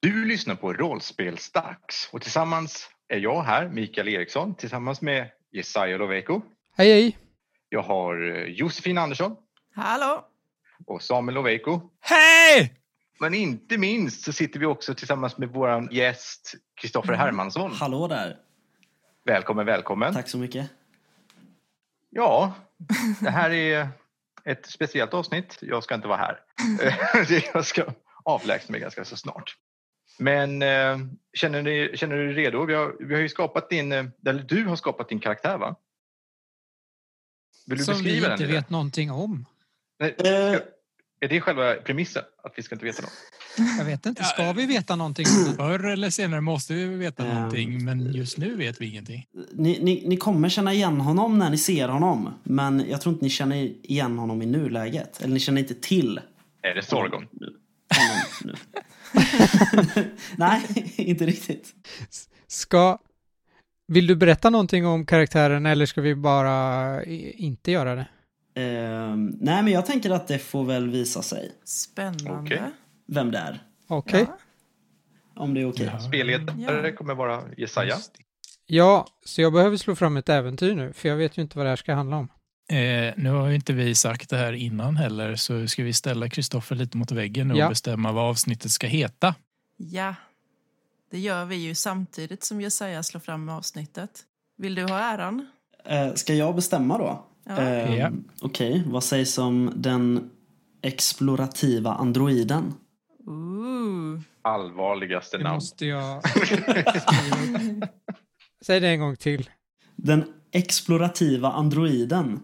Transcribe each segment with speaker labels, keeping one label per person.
Speaker 1: Du lyssnar på Rollspelsdags och tillsammans är jag här, Mikael Eriksson, tillsammans med Jesaja Lovejko.
Speaker 2: Hej, hej!
Speaker 1: Jag har eh, Josefin Andersson
Speaker 3: Hallå!
Speaker 1: och Samuel Lovejko.
Speaker 2: Hej!
Speaker 1: Men inte minst så sitter vi också tillsammans med vår gäst Kristoffer Hermansson.
Speaker 4: Hallå där!
Speaker 1: Välkommen, välkommen.
Speaker 4: Tack så mycket.
Speaker 1: Ja, det här är ett speciellt avsnitt. Jag ska inte vara här. Eh, jag ska avlägsna mig ganska så snart. Men eh, känner, ni, känner du dig redo? Vi har, vi har ju skapat din, eh, eller du har skapat din karaktär va? Vill du
Speaker 2: Som vi
Speaker 1: beskriva
Speaker 2: inte
Speaker 1: den? lite?
Speaker 2: vet någonting om.
Speaker 1: Nej,
Speaker 4: Eh,
Speaker 1: är det själva premissen? Att vi ska inte veta något?
Speaker 2: Jag vet inte, ska
Speaker 5: Ja.
Speaker 2: vi veta någonting om den?
Speaker 5: Förr eller senare måste vi veta
Speaker 4: Ehm.
Speaker 5: någonting, men just nu vet vi ingenting.
Speaker 4: ni, ni, ni kommer känna igen honom när ni ser honom, men jag tror inte ni känner igen honom i nuläget. Eller ni känner inte till
Speaker 1: Är det Sorgon?
Speaker 2: Mm.
Speaker 4: honom nu. Nej, inte riktigt.
Speaker 2: Ska... Vill du berätta någonting om karaktären eller ska vi bara i- inte göra det?
Speaker 4: Ehm, nej, men jag tänker att det får väl visa sig
Speaker 3: Spännande.
Speaker 1: Okej.
Speaker 4: vem det är.
Speaker 2: Okej.
Speaker 3: Ja.
Speaker 4: Om det är okej.
Speaker 1: Spelledare kommer vara Jesaja.
Speaker 2: Ja, så jag behöver slå fram ett äventyr nu, för jag vet ju inte vad det här ska handla om.
Speaker 5: Eh, nu har ju inte vi sagt det här innan heller, så ska vi ställa Kristoffer lite mot väggen nu
Speaker 2: Ja.
Speaker 5: och bestämma vad avsnittet ska heta.
Speaker 3: Ja. Det gör vi ju samtidigt som Jesaja slår fram avsnittet. Vill du ha äran?
Speaker 4: Eh, ska jag bestämma då?
Speaker 3: Ja.
Speaker 4: Ehm,
Speaker 5: Ja.
Speaker 4: Okej, vad sägs om den explorativa androiden?
Speaker 3: Ooh.
Speaker 1: Allvarligaste
Speaker 2: Det
Speaker 1: namn.
Speaker 2: måste jag... skriva upp. Säg det en gång till.
Speaker 4: Den explorativa androiden.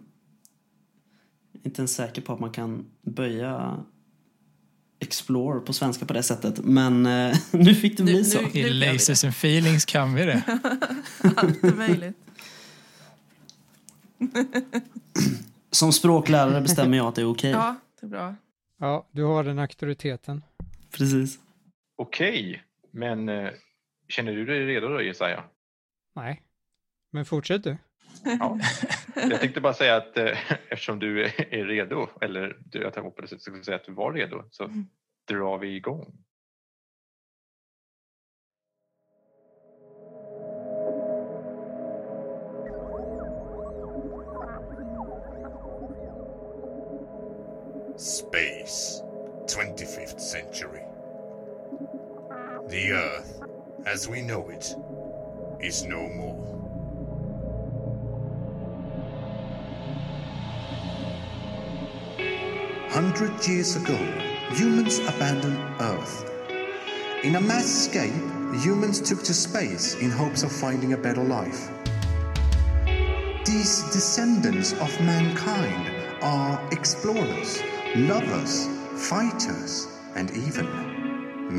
Speaker 4: Inte ens säker på att man kan böja explore på svenska på det sättet. Men eh, nu fick det
Speaker 3: Nu-
Speaker 4: bli
Speaker 3: nu-
Speaker 4: så.
Speaker 3: gör
Speaker 5: Till
Speaker 3: vi det.
Speaker 5: Lasers and feelings kan vi det.
Speaker 3: Allt är möjligt.
Speaker 4: Som språklärare bestämmer jag att det är okej.
Speaker 3: Ja, det är bra.
Speaker 2: Ja, du har den auktoriteten.
Speaker 4: Precis.
Speaker 1: Okej, men eh, känner du dig redo då Jesaja?
Speaker 2: Nej. Men fortsätt du.
Speaker 1: Ja. Jag tänkte bara säga att eh, eftersom du är är redo, eller du, jag hoppades att du skulle säga att du var redo, så
Speaker 3: Mm.
Speaker 1: drar vi igång.
Speaker 6: Space, 25th century. The Earth, as we know it, is no more.
Speaker 7: Hundred years ago, humans abandoned Earth. In a mass escape, humans took to space in hopes of finding a better life. These descendants of mankind are explorers, lovers, fighters, and even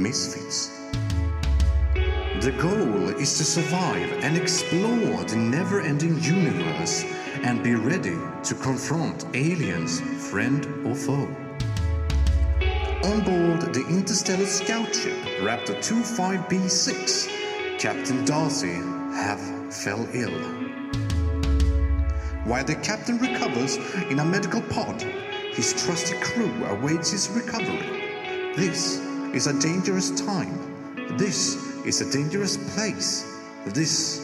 Speaker 7: misfits. The goal is to survive and explore the never ending universe and be ready to confront aliens, friend or foe. On board the interstellar scout ship Raptor 25B6, Captain Darcy have fell ill. While the captain recovers in a medical pod, his trusty crew awaits his recovery. This is a dangerous time. This is a dangerous place. This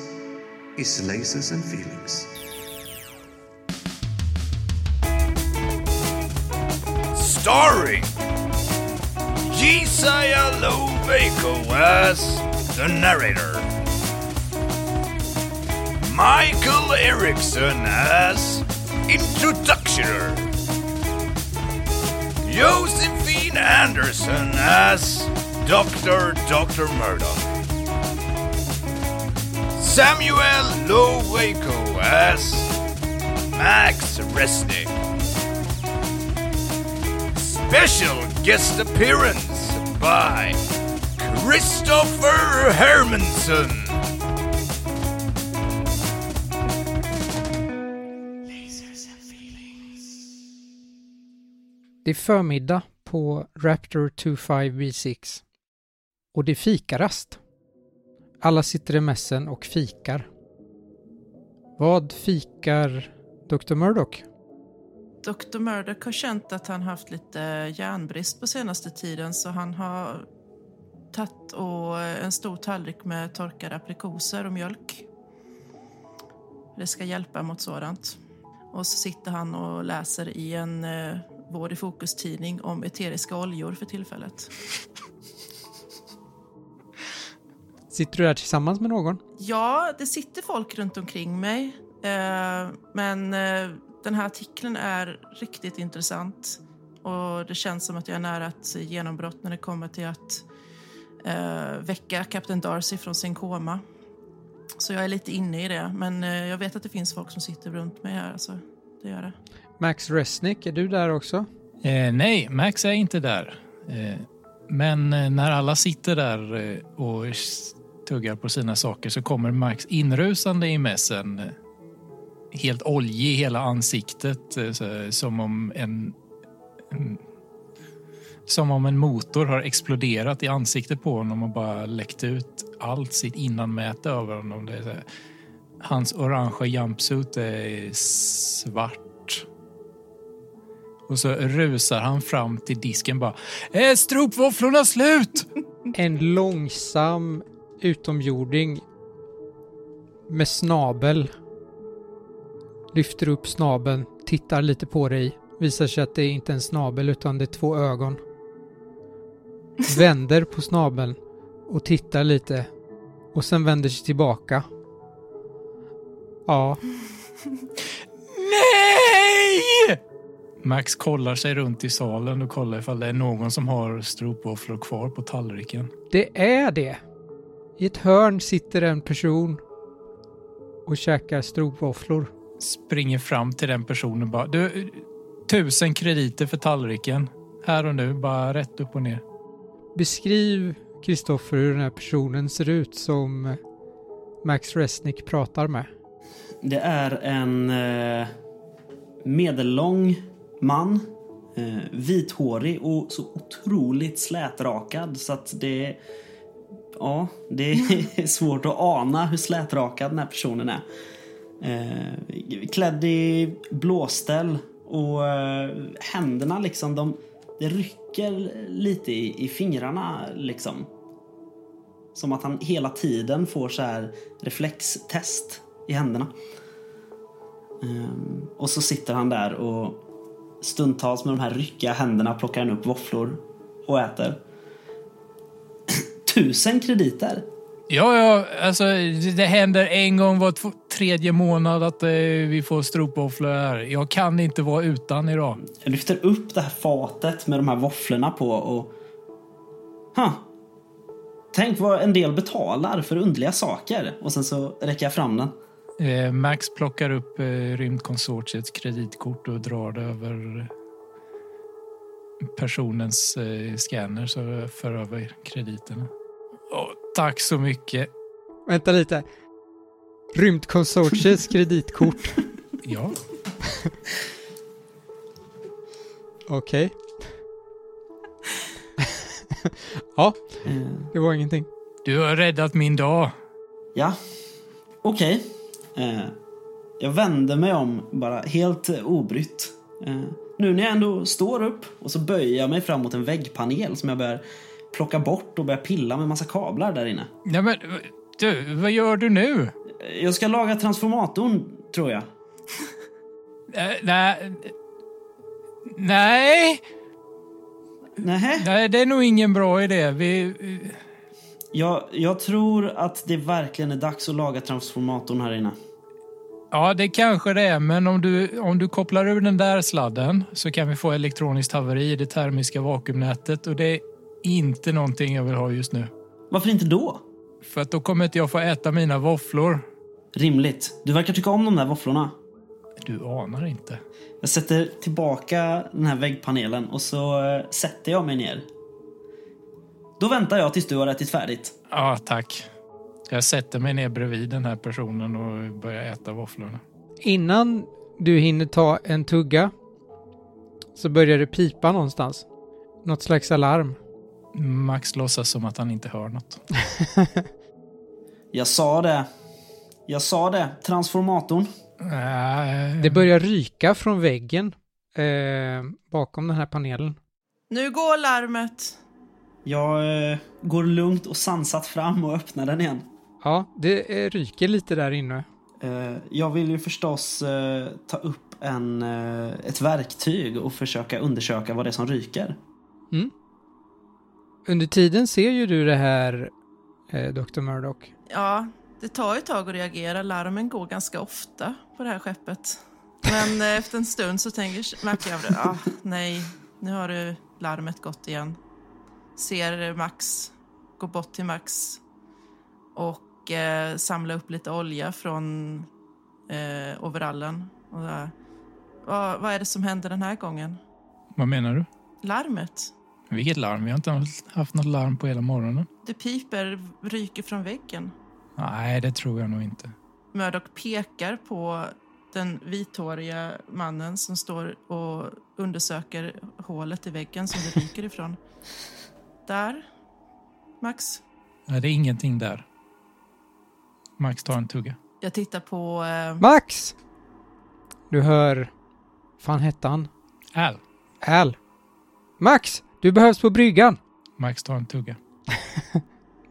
Speaker 7: is lasers and feelings.
Speaker 6: Starring Jesiah Loveko as the narrator, Michael Erickson as introductioner, Josephine Anderson as Dr. Dr. Murdoch. Samuel Loveko as Max Resnick. Special guest appearance by Christopher Hermanson.
Speaker 2: Det är förmiddag på Raptor 25B6 och det är fikarast. Alla sitter i mässen och fikar. Vad fikar Dr. Murdoch?
Speaker 3: Dr. Murdoch har känt att han haft lite järnbrist på senaste tiden så han har tatt och eh, en stor tallrik med torkade aprikoser och mjölk. Det ska hjälpa mot sådant. Och så sitter han och läser i en eh, Vård i fokus-tidning om eteriska oljor för tillfället.
Speaker 8: Sitter du där tillsammans med någon?
Speaker 3: Ja, det sitter folk runt omkring mig. Eh, men eh, den här artikeln är riktigt intressant. Och det känns som att jag är nära ett genombrott när det kommer till att eh, väcka Kapten Darcy från sin koma. Så jag är lite inne i det. Men eh, jag vet att det finns folk som sitter runt mig här. Alltså, det gör det.
Speaker 8: Max Resnick, är du där också?
Speaker 5: Eh, nej, Max är inte där. Eh, men eh, när alla sitter där eh, och s- tuggar på sina saker så kommer Max inrusande i mässen. eh, Helt oljig i hela ansiktet, eh, så, som om en... en- Som om en motor har exploderat i ansiktet på honom och bara läckt ut allt sitt innanmäte över honom. Det är så här, hans orangea jumpsuit är svart. Och så rusar han fram till disken bara. Eh, Stropvåfflorna slut!
Speaker 8: En långsam utomjording med snabel lyfter upp snabeln, tittar lite på dig, visar sig att det är inte en snabel utan det är två ögon. Vänder på snabeln och tittar lite och sen vänder sig tillbaka. Ja,
Speaker 5: Nej! Max kollar sig runt i salen och kollar ifall det är någon som har stropvåfflor kvar på tallriken.
Speaker 8: det är det. I ett hörn sitter en person och käkar strovvåfflor.
Speaker 5: Springer fram till den personen och bara. Du, tusen krediter för tallriken. Här och nu, bara rätt upp och ner.
Speaker 8: Beskriv Kristoffer hur den här personen ser ut som Max Resnick pratar med.
Speaker 4: Det är en eh, medellång man. Eh, vithårig och så otroligt slätrakad så att det... Ja, det är svårt att ana hur slätrakad den här personen är. Eh, klädd i blåställ och eh, händerna liksom, de, det rycker lite i, i fingrarna liksom. Som att han hela tiden får så här reflextest i händerna. Ehm, och så sitter han där och stundtals med de här ryckiga händerna plockar han upp våfflor och äter. Tusen krediter!
Speaker 5: Ja, ja, alltså det det händer en gång var två, tredje månad att eh, vi får stropvåfflor här. Jag kan inte vara utan idag.
Speaker 4: Jag lyfter upp det här fatet med de här våfflorna på och... Ha! Tänk vad en del betalar för underliga saker. Och sen så räcker jag fram den.
Speaker 5: Eh, Max plockar upp eh, rymdkonsortiets kreditkort och drar det över personens eh, scanner så jag för över krediterna. Åh, tack så mycket.
Speaker 8: Vänta lite. Rymdkonsortiets kreditkort.
Speaker 5: Ja,
Speaker 8: Okej. ja,
Speaker 4: Ehm,
Speaker 8: det var ingenting.
Speaker 5: du har räddat min dag.
Speaker 4: Ja, okej. Eh, jag vände mig om bara helt eh, obrytt. Eh, nu när jag ändå står upp och så böjer jag mig fram mot en väggpanel som jag börjar plocka bort och börjar pilla med massa kablar där inne.
Speaker 5: Nej, men, du, vad gör du nu?
Speaker 4: Eh, Jag ska laga transformatorn, tror jag.
Speaker 5: Eh, nej. Nej,
Speaker 4: Nähä?
Speaker 5: nej, det är nog ingen bra idé. Vi,
Speaker 4: Jag, jag tror att det verkligen är dags att laga transformatorn här inne.
Speaker 5: Ja, det kanske det är, men om du, om du kopplar ur den där sladden så kan vi få elektroniskt haveri i det termiska vakuumnätet och det är inte någonting jag vill ha just nu.
Speaker 4: Varför inte då?
Speaker 5: För att då kommer inte jag få äta mina våfflor.
Speaker 4: Rimligt. Du verkar tycka om de där våfflorna.
Speaker 5: Du anar inte.
Speaker 4: Jag sätter tillbaka den här väggpanelen och så eh, sätter jag mig ner. Då väntar jag tills du har ätit färdigt.
Speaker 5: Ja, tack. Jag sätter mig ner bredvid den här personen och börjar äta våfflorna.
Speaker 8: Innan du hinner ta en tugga så börjar det pipa någonstans. Något slags alarm.
Speaker 5: Max låtsas som att han inte hör något.
Speaker 4: Jag sa det. Jag sa det. Transformatorn.
Speaker 5: Nej.
Speaker 8: Det börjar ryka från väggen eh, bakom den här panelen.
Speaker 3: Nu går larmet!
Speaker 4: Jag eh, går lugnt och sansat fram och öppnar den igen.
Speaker 8: Ja, det eh, ryker lite där inne.
Speaker 4: Eh, jag vill ju förstås eh, ta upp en, eh, ett verktyg och försöka undersöka vad det är som ryker.
Speaker 8: Under tiden ser ju du det här, eh, Dr. Murdoch.
Speaker 3: Ja, det tar ju ett tag att reagera. Larmen går ganska ofta på det här skeppet. Men eh, efter en stund så tänker, märker jag det. Ah, nej, nu har det larmet gått igen. Ser Max, går bort till Max och eh, samlar upp lite olja från eh, overallen. Och där. Vad, vad är det som händer den här gången?
Speaker 5: Vad menar du?
Speaker 3: Larmet?
Speaker 5: Vilket larm? Vi har inte haft något larm på hela morgonen.
Speaker 3: Det piper, ryker från väggen.
Speaker 5: Nej, det tror jag nog inte.
Speaker 3: Murdoch pekar på den vithåriga mannen som står och undersöker hålet i väggen som det ryker ifrån. Där, Max.
Speaker 5: Nej, det är ingenting där. Max tar en tugga.
Speaker 3: Jag tittar på... Eh,
Speaker 8: Max! Du hör... fan hette han?
Speaker 5: Al.
Speaker 8: Al. Max! Du behövs på bryggan!
Speaker 5: Max tar en tugga.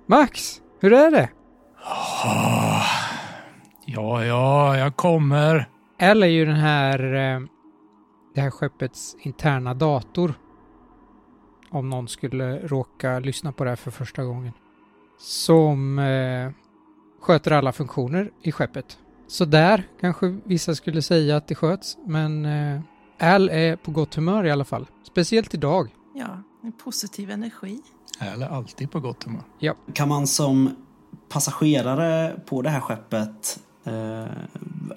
Speaker 8: Max! Hur är det?
Speaker 5: Ja, ja, jag kommer.
Speaker 8: Al är ju den här... eh, Det här skeppets interna dator. Om någon skulle råka lyssna på det här för första gången. Som eh, sköter alla funktioner i skeppet. Så där kanske vissa skulle säga att det sköts, men eh, Al är på gott humör i alla fall. Speciellt idag.
Speaker 3: ja, en positiv energi.
Speaker 5: Al är alltid på gott humör.
Speaker 4: Kan man som passagerare på det här skeppet eh,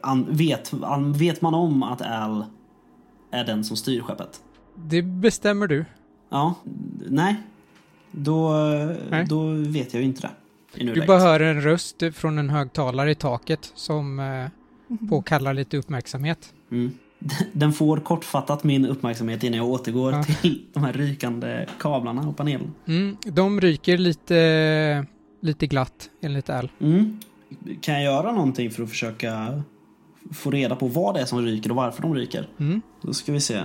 Speaker 4: an, vet, an, vet man om att Al är den som styr skeppet?
Speaker 8: Det bestämmer du.
Speaker 4: Ja, nej. Då,
Speaker 8: Nej.
Speaker 4: då vet jag ju inte det. I
Speaker 8: Du
Speaker 4: nuläget.
Speaker 8: bara hör en röst från en högtalare i taket som eh, påkallar lite uppmärksamhet.
Speaker 4: Mm. Den får kortfattat min uppmärksamhet innan jag återgår
Speaker 8: Ja.
Speaker 4: till de här rykande kablarna och panelen.
Speaker 8: Mm, de ryker lite, lite glatt enligt Al.
Speaker 4: Mm. Kan jag göra någonting för att försöka få reda på vad det är som ryker och varför de ryker?
Speaker 8: Mm.
Speaker 4: Då ska vi se.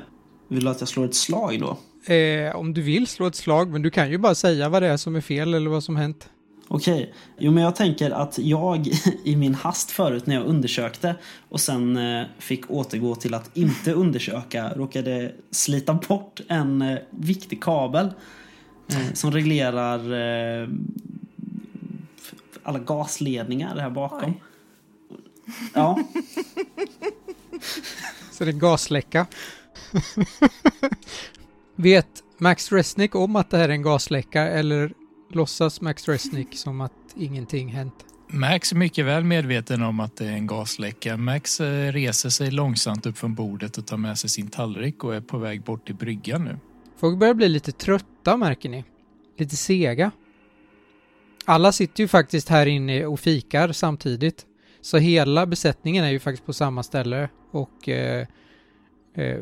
Speaker 4: Vill du att jag slår ett slag då?
Speaker 8: Eh, om du vill slå ett slag, men du kan ju bara säga vad det är som är fel eller vad som hänt.
Speaker 4: Okej, jo men jag tänker att jag i min hast förut när jag undersökte och sen eh, fick återgå till att inte undersöka råkade slita bort en eh, viktig kabel eh, som reglerar eh, f- alla gasledningar här bakom.
Speaker 3: Oj.
Speaker 4: Ja,
Speaker 8: Så det är gasläcka. Vet Max Resnick om att det här är en gasläcka eller låtsas Max Resnick som att ingenting hänt?
Speaker 5: Max är mycket väl medveten om att det är en gasläcka. Max eh, reser sig långsamt upp från bordet och tar med sig sin tallrik och är på väg bort till bryggan nu.
Speaker 8: Folk börjar bli lite trötta märker ni. Lite sega. Alla sitter ju faktiskt här inne och fikar samtidigt. Så hela besättningen är ju faktiskt på samma ställe och eh, eh,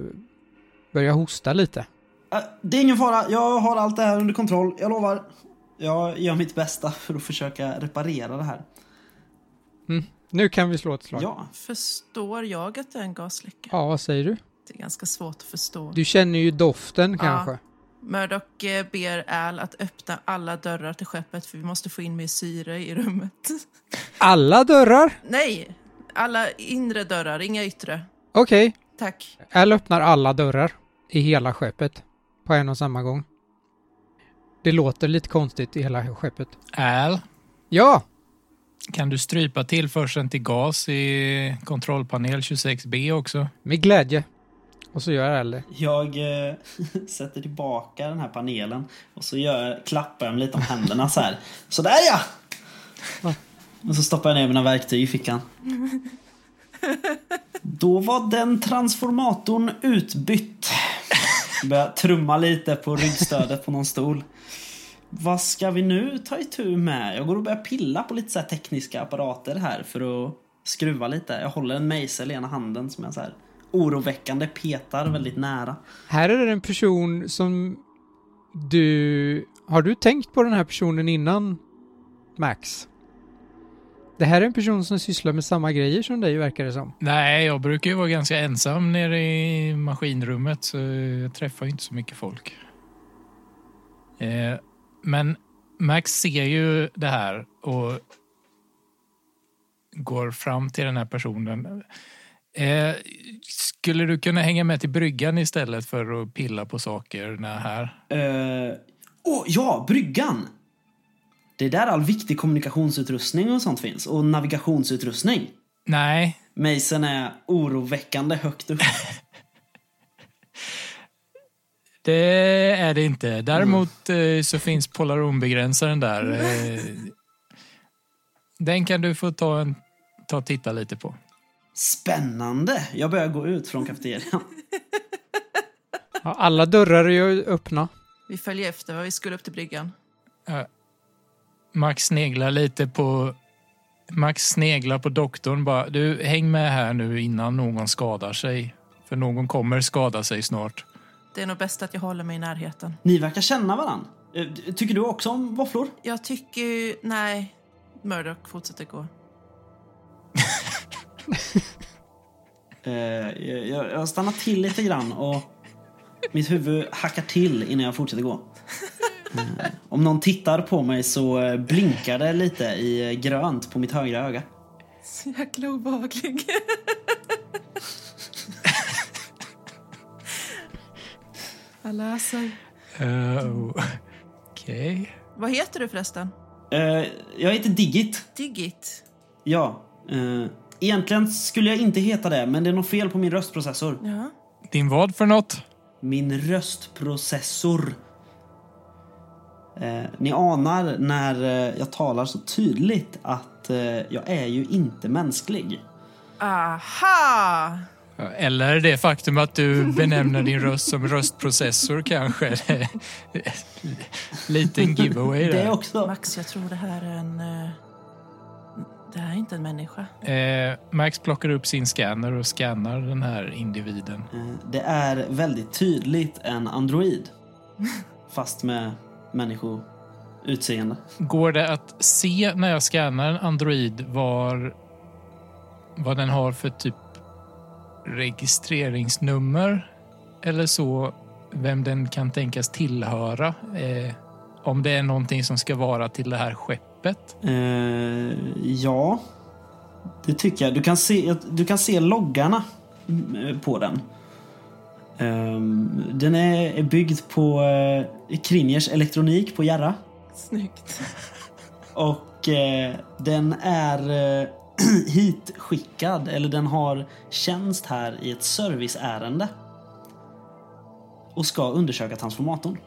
Speaker 8: börjar hosta lite.
Speaker 4: Eh, det är ingen fara. Jag har allt det här under kontroll, jag lovar. Jag gör mitt bästa för att försöka reparera det här.
Speaker 8: Nu kan vi slå ett slag.
Speaker 4: Ja,
Speaker 3: Förstår jag att det är en gasläcka?
Speaker 8: Ja, vad säger du?
Speaker 3: Det är ganska svårt att förstå.
Speaker 8: Du känner ju doften kanske.
Speaker 3: Murdoch eh, ber Al att öppna alla dörrar till skeppet för vi måste få in mer syre i rummet.
Speaker 8: Alla dörrar?
Speaker 3: Nej, alla inre dörrar, inga yttre.
Speaker 8: Okej.
Speaker 3: Tack.
Speaker 8: Al öppnar alla dörrar i hela skeppet på en och samma gång. Det låter lite konstigt i hela skeppet.
Speaker 5: Al,
Speaker 8: Ja!
Speaker 5: kan du strypa tillförseln till gas i kontrollpanel 26B också?
Speaker 8: Med glädje. Och så gör Al det.
Speaker 4: Jag eh, sätter tillbaka den här panelen och så gör, klappar jag mig lite om händerna så här. Sådär ja! Och så stoppar jag ner mina verktyg i fickan. Då var den transformatorn utbytt. Börjar trumma lite på ryggstödet på någon stol. Vad ska vi nu ta itu med? Jag går och börjar pilla på lite så här tekniska apparater här för att skruva lite. Jag håller en mejsel i ena handen som jag så här oroväckande petar väldigt nära.
Speaker 8: Här är det en person som du... Har du tänkt på den här personen innan, Max? Det här är en person som sysslar med samma grejer som dig, verkar det som.
Speaker 5: Nej, jag brukar ju vara ganska ensam nere i maskinrummet så jag träffar ju inte så mycket folk. Eh, Men Max ser ju det här och går fram till den här personen. Eh, skulle du kunna hänga med till bryggan istället för att pilla på sakerna här?
Speaker 4: Eh, Åh, ja, bryggan! Det är där all viktig kommunikationsutrustning och sånt finns. Och navigationsutrustning.
Speaker 5: Nej,
Speaker 4: Mason är oroväckande högt upp.
Speaker 5: det är det inte. Däremot eh, så finns polaronbegränsaren där. Eh, den kan du få ta en ta och titta lite på.
Speaker 4: Spännande! Jag börjar gå ut från kafeterian.
Speaker 8: Ja, alla dörrar är ju öppna.
Speaker 3: Vi följer efter, va? vi skulle upp till bryggan.
Speaker 5: Max sneglar lite på Max sneglar på doktorn bara. Du, häng med här nu innan någon skadar sig. För någon kommer skada sig snart.
Speaker 3: Det är nog bäst att jag håller mig i närheten.
Speaker 4: Ni verkar känna varann. Eh, Tycker du också om våfflor?
Speaker 3: Jag tycker ju... Nej. Murdoch fortsätter gå.
Speaker 4: Eh, jag, jag jag stannar till lite grann och mitt huvud hackar till innan jag fortsätter gå. Eh, Om någon tittar på mig så eh, blinkar det lite i eh, grönt på mitt högra öga.
Speaker 3: Så jäkla obehaglig. Alla sig.
Speaker 5: Uh, Okej.
Speaker 3: Vad heter du förresten?
Speaker 4: Eh, Jag heter Digit.
Speaker 3: Digit?
Speaker 4: Ja. eh, Egentligen skulle jag inte heta det, men det är något fel på min röstprocessor.
Speaker 3: Ja.
Speaker 5: Din vad för något?
Speaker 4: Min röstprocessor. Eh, ni anar när eh, jag talar så tydligt att eh, jag är ju inte mänsklig.
Speaker 3: Aha!
Speaker 5: Eller det faktum att du benämner din röst som röstprocessor kanske. Liten giveaway
Speaker 4: Det är
Speaker 5: där.
Speaker 4: också...
Speaker 3: Max, jag tror det här är en... eh, Det här är inte en människa.
Speaker 5: Eh, Max plockar upp sin scanner och scannar den här individen.
Speaker 4: Eh, Det är väldigt tydligt en android. Fast med människoutseende.
Speaker 5: Går det att se när jag scannar en Android var, vad den har för typ registreringsnummer eller så, vem den kan tänkas tillhöra? Eh, om det är någonting som ska vara till det här skeppet?
Speaker 4: Eh, ja, det tycker jag. Du kan se, du kan se loggarna mm, på den. Ehm, den är är byggd på eh, Kringers elektronik på Järra.
Speaker 3: Snyggt.
Speaker 4: Och eh, den är eh, hitskickad, eller den har tjänst här i ett serviceärende. Och ska undersöka transformatorn.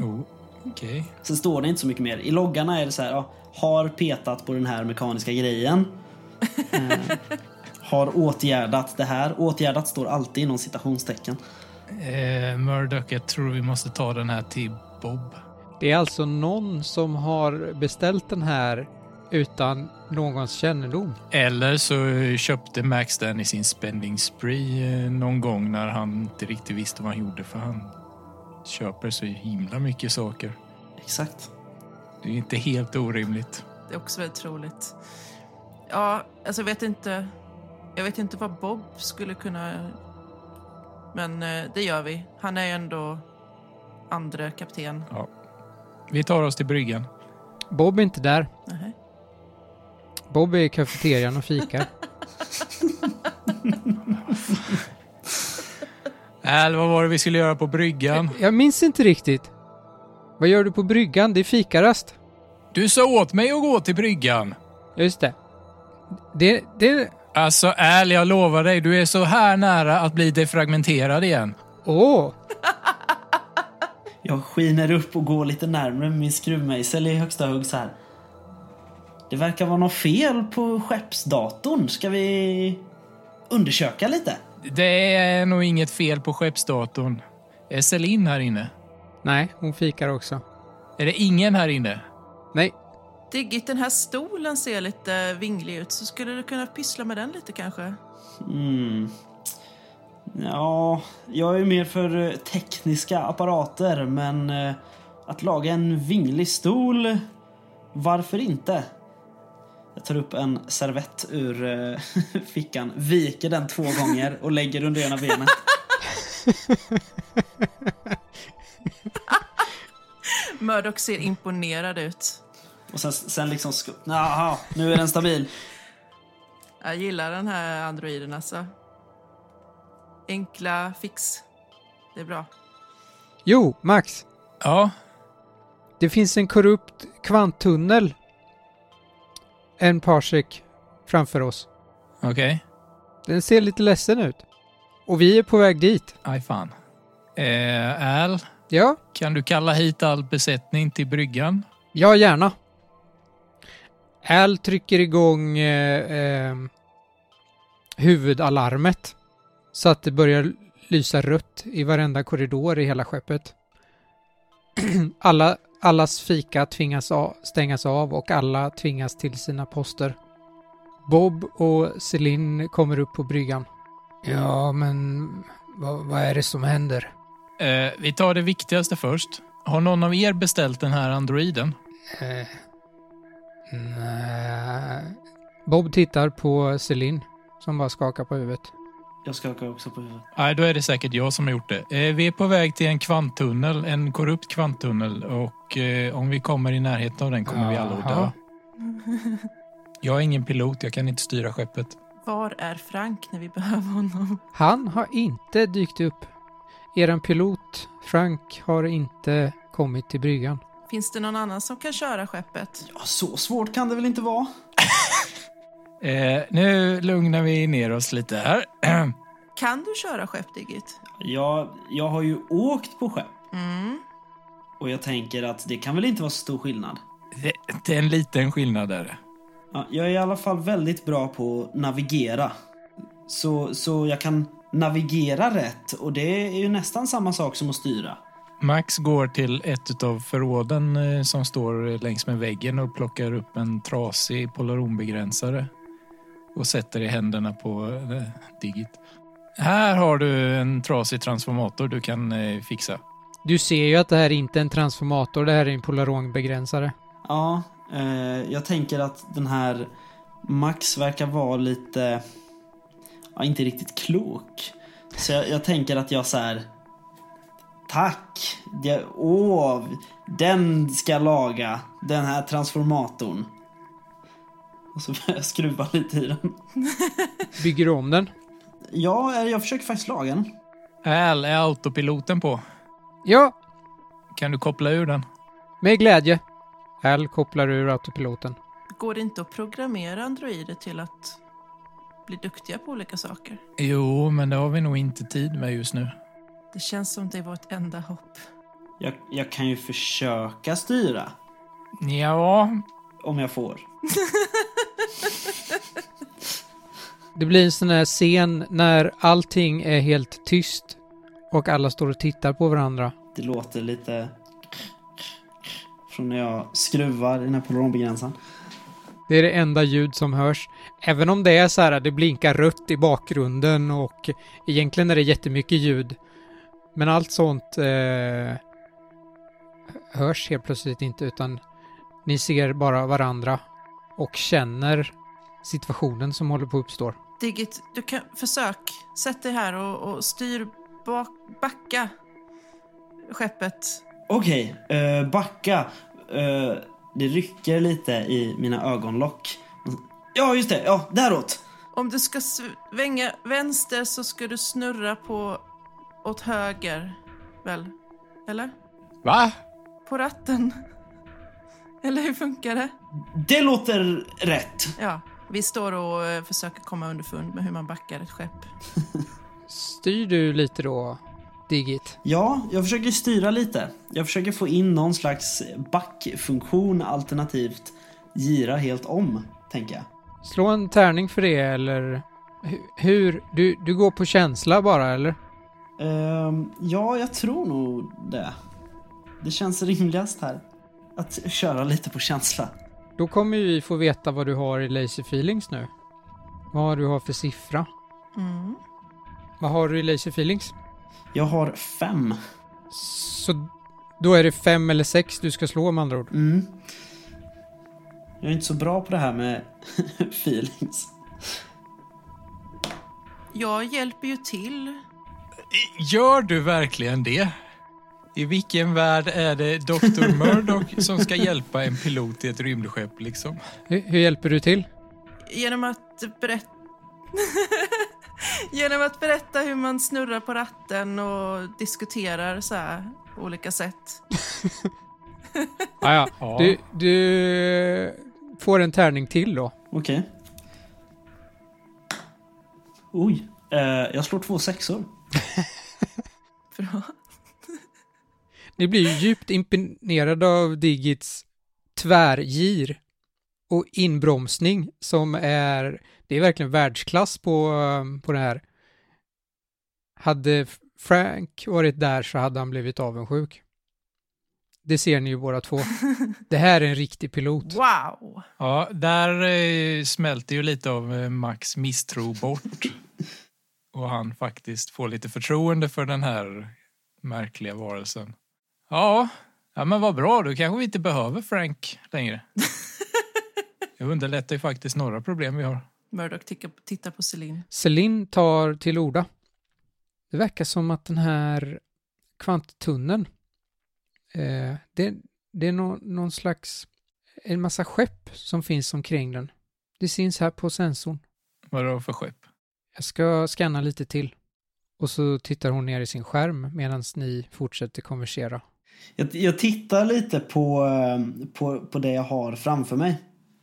Speaker 5: Oh, Okej.
Speaker 4: Sen står det inte så mycket mer. I loggarna är det så här, ja, har petat på den här mekaniska grejen. Eh, har åtgärdat det här. Åtgärdat står alltid inom citationstecken.
Speaker 5: Eh, Murdoch, jag tror vi måste ta den här till Bob.
Speaker 8: Det är alltså någon som har beställt den här utan någons kännedom.
Speaker 5: Eller så eh, köpte Max den i sin spending spree eh, någon gång när han inte riktigt visste vad han gjorde för han köper så himla mycket saker.
Speaker 4: Exakt.
Speaker 5: Det är inte helt orimligt.
Speaker 3: Det är också väldigt troligt. Ja, alltså jag vet inte... Jag vet inte vad Bob skulle kunna... Men eh, det gör vi. Han är ju ändå andre kapten.
Speaker 5: Vi tar oss till bryggan.
Speaker 8: Bob är inte där.
Speaker 3: Nej.
Speaker 8: Bob är i kafeterian och fikar.
Speaker 5: Eller vad var det vi skulle göra på bryggan?
Speaker 8: Jag minns inte riktigt. Vad gör du på bryggan? Det är fikarast.
Speaker 5: Du sa åt mig att gå till bryggan.
Speaker 8: Ja, Just det. Det, det...
Speaker 5: Alltså ärligt, jag lovar dig, du är så här nära att bli defragmenterad igen.
Speaker 8: Åh!
Speaker 4: Jag skiner upp och går lite närmre med min skruvmejsel i högsta hugg så här. Det verkar vara något fel på skeppsdatorn. Ska vi undersöka lite?
Speaker 5: Det är nog inget fel på skeppsdatorn. Är Celine här inne?
Speaker 8: Nej, hon fikar också.
Speaker 5: Är det ingen här inne?
Speaker 8: Nej,
Speaker 3: Diggit, den här stolen ser lite vinglig ut, så skulle du kunna pyssla med den lite kanske?
Speaker 4: Mm. Ja, jag är mer för eh, tekniska apparater, men eh, att laga en vinglig stol, varför inte? Jag tar upp en servett ur eh, fickan, viker den två gånger och lägger under ena benet.
Speaker 3: Murdoch ser imponerad ut.
Speaker 4: Och sen, sen liksom... sk- Jaha, nu är den stabil.
Speaker 3: Jag gillar den här androiden alltså. Enkla fix. Det är bra.
Speaker 8: Jo, Max.
Speaker 5: Ja,
Speaker 8: Det finns en korrupt kvanttunnel en parsek framför oss.
Speaker 5: okej.
Speaker 8: Den ser lite ledsen ut. Och vi är på väg dit.
Speaker 5: Aj fan. Eh, Al,
Speaker 8: Ja,
Speaker 5: kan du kalla hit all besättning till bryggan?
Speaker 8: ja gärna. Al trycker igång eh, eh, huvudalarmet så att det börjar lysa rött i varenda korridor i hela skeppet. alla, allas fika tvingas av, stängas av och alla tvingas till sina poster. Bob och Celine kommer upp på bryggan. Ja, men vad, vad är det som händer?
Speaker 5: Eh, vi tar det viktigaste först. Har någon av er beställt den här androiden?
Speaker 8: Eh, nej. Bob tittar på Celine som bara skakar på huvudet.
Speaker 4: Jag skakar också på huvudet.
Speaker 5: Nej, då är det säkert jag som har gjort det. Eh, vi är på väg till en kvanttunnel, en korrupt kvanttunnel och eh, om vi kommer i närheten av den kommer vi alla att dö.
Speaker 8: Jaha.
Speaker 5: Jag är ingen pilot, jag kan inte styra skeppet.
Speaker 3: Var är Frank när vi behöver honom?
Speaker 8: Han har inte dykt upp. Eran pilot Frank har inte kommit till bryggan.
Speaker 3: Finns det någon annan som kan köra skeppet?
Speaker 4: Ja, så svårt kan det väl inte vara?
Speaker 5: Eh, nu lugnar vi ner oss lite här.
Speaker 3: Kan du köra skepp, Digit?
Speaker 4: Jag, jag har ju åkt på skepp.
Speaker 3: Mm.
Speaker 4: Och jag tänker att det kan väl inte vara så stor skillnad?
Speaker 5: Det, det är en liten skillnad där.
Speaker 4: Ja, jag är i alla fall väldigt bra på att navigera. Så, så jag kan navigera rätt och det är ju nästan samma sak som att styra.
Speaker 5: Max går till ett av förråden eh, som står längs med väggen och plockar upp en trasig polaronbegränsare och sätter i händerna på eh, Digit. Här har du en trasig transformator du kan eh, fixa.
Speaker 8: Du ser ju att det här är inte är en transformator, det här är en polaronbegränsare.
Speaker 4: Ja, eh, jag tänker att den här Max verkar vara lite... Ja, inte riktigt klok. Så jag, jag tänker att jag så här... Tack! Det, åh, den ska laga den här transformatorn. Och så börjar jag skruva lite i den.
Speaker 8: Bygger du om den?
Speaker 4: Ja, eh, jag försöker faktiskt laga den.
Speaker 5: Al, är autopiloten på?
Speaker 8: Ja,
Speaker 5: Kan du koppla ur den?
Speaker 8: med glädje. Al kopplar ur autopiloten.
Speaker 3: Går det inte att programmera androider till att bli duktiga på olika saker?
Speaker 5: Jo, men det har vi nog inte tid med just nu.
Speaker 3: Det känns som det var ett enda hopp.
Speaker 4: Jag, jag kan ju försöka styra.
Speaker 5: Ja,
Speaker 4: Om jag får.
Speaker 8: Det blir en sån här scen när allting är helt tyst och alla står och tittar på varandra.
Speaker 4: Det låter lite... Från när jag skruvar i den här polaronbegränsaren.
Speaker 8: Det är det enda ljud som hörs. Även om det är så här, det blinkar rött i bakgrunden och egentligen är det jättemycket ljud. Men allt sånt eh, hörs helt plötsligt inte utan ni ser bara varandra och känner situationen som håller på att uppstå.
Speaker 3: Digit, du kan... Försök. Sätt dig här och, och styr bak... Backa skeppet.
Speaker 4: Okej, eh, backa. Eh, det rycker lite i mina ögonlock. Ja, just det. Ja, däråt.
Speaker 3: Om du ska svänga vänster så ska du snurra på åt höger, väl? Eller?
Speaker 5: Va?
Speaker 3: På ratten? Eller hur funkar det?
Speaker 4: Det låter rätt.
Speaker 3: Ja, vi står och eh, försöker komma underfund med hur man backar ett skepp.
Speaker 8: Styr du lite då, Digit?
Speaker 4: Ja, jag försöker styra lite. Jag försöker få in någon slags backfunktion alternativt gira helt om, tänker jag.
Speaker 8: Slå en tärning för det eller hu- hur? Du, du går på känsla bara eller?
Speaker 4: Ehm, ja, jag tror nog det. Det känns rimligast här. Att köra lite på känsla.
Speaker 8: Då kommer ju vi få veta vad du har i Lazy Feelings nu. Vad du har för siffra.
Speaker 3: Mm.
Speaker 8: Vad har du i Lazy Feelings?
Speaker 4: Jag har fem.
Speaker 8: Så då är det fem eller sex du ska slå med andra ord.
Speaker 4: Mm. Jag är inte så bra på det här med feelings.
Speaker 3: Jag hjälper ju till.
Speaker 5: Gör du verkligen det? I vilken värld är det Dr. Murdoch som ska hjälpa en pilot i ett rymdskepp liksom?
Speaker 8: Hur, hur hjälper du till?
Speaker 3: Genom att berätta... Genom att berätta hur man snurrar på ratten och diskuterar så här olika sätt.
Speaker 8: Ah, ja.
Speaker 5: Ja.
Speaker 8: du, du får en tärning till då.
Speaker 4: Okej. Oj. Eh, jag slår två sexor.
Speaker 3: Bra.
Speaker 8: Ni blir ju djupt imponerade av Digits tvärgir och inbromsning som är, det är verkligen världsklass på, eh, på det här. Hade Frank varit där så hade han blivit avundsjuk. Det ser ni ju båda två. Det här är en riktig pilot.
Speaker 3: Wow!
Speaker 5: Ja, där eh, smälter ju lite av eh, Max misstro bort. Och han faktiskt får lite förtroende för den här märkliga varelsen. Ja, ja men vad bra, då kanske vi inte behöver Frank längre. Det underlättar ju faktiskt några problem vi har.
Speaker 3: Murdoch ticka- tittar på Celine.
Speaker 8: Celine tar till orda. Det verkar som att den här kvanttunneln, eh, det, det är nå- någon slags, en massa skepp som finns omkring den. Det syns här på sensorn.
Speaker 5: Vad är det för skepp?
Speaker 8: Jag ska scanna lite till. Och så tittar hon ner i sin skärm medan ni fortsätter konversera.
Speaker 4: Jag, jag tittar lite på, eh, på, på det jag har framför mig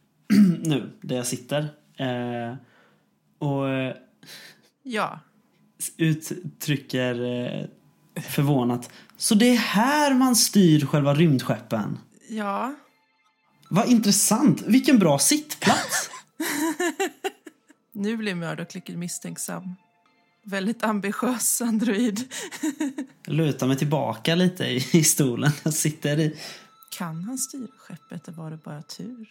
Speaker 4: nu, där jag sitter. Eh, och eh,
Speaker 3: Ja.
Speaker 4: uttrycker eh, förvånat. Så det är här man styr själva rymdskeppen?
Speaker 3: Ja.
Speaker 4: Vad intressant! Vilken bra sittplats!
Speaker 3: Nu blir Murdoch lite misstänksam. Väldigt ambitiös android.
Speaker 4: Jag lutar mig tillbaka lite i, i stolen jag sitter i.
Speaker 3: Kan han styra skeppet eller var det bara tur?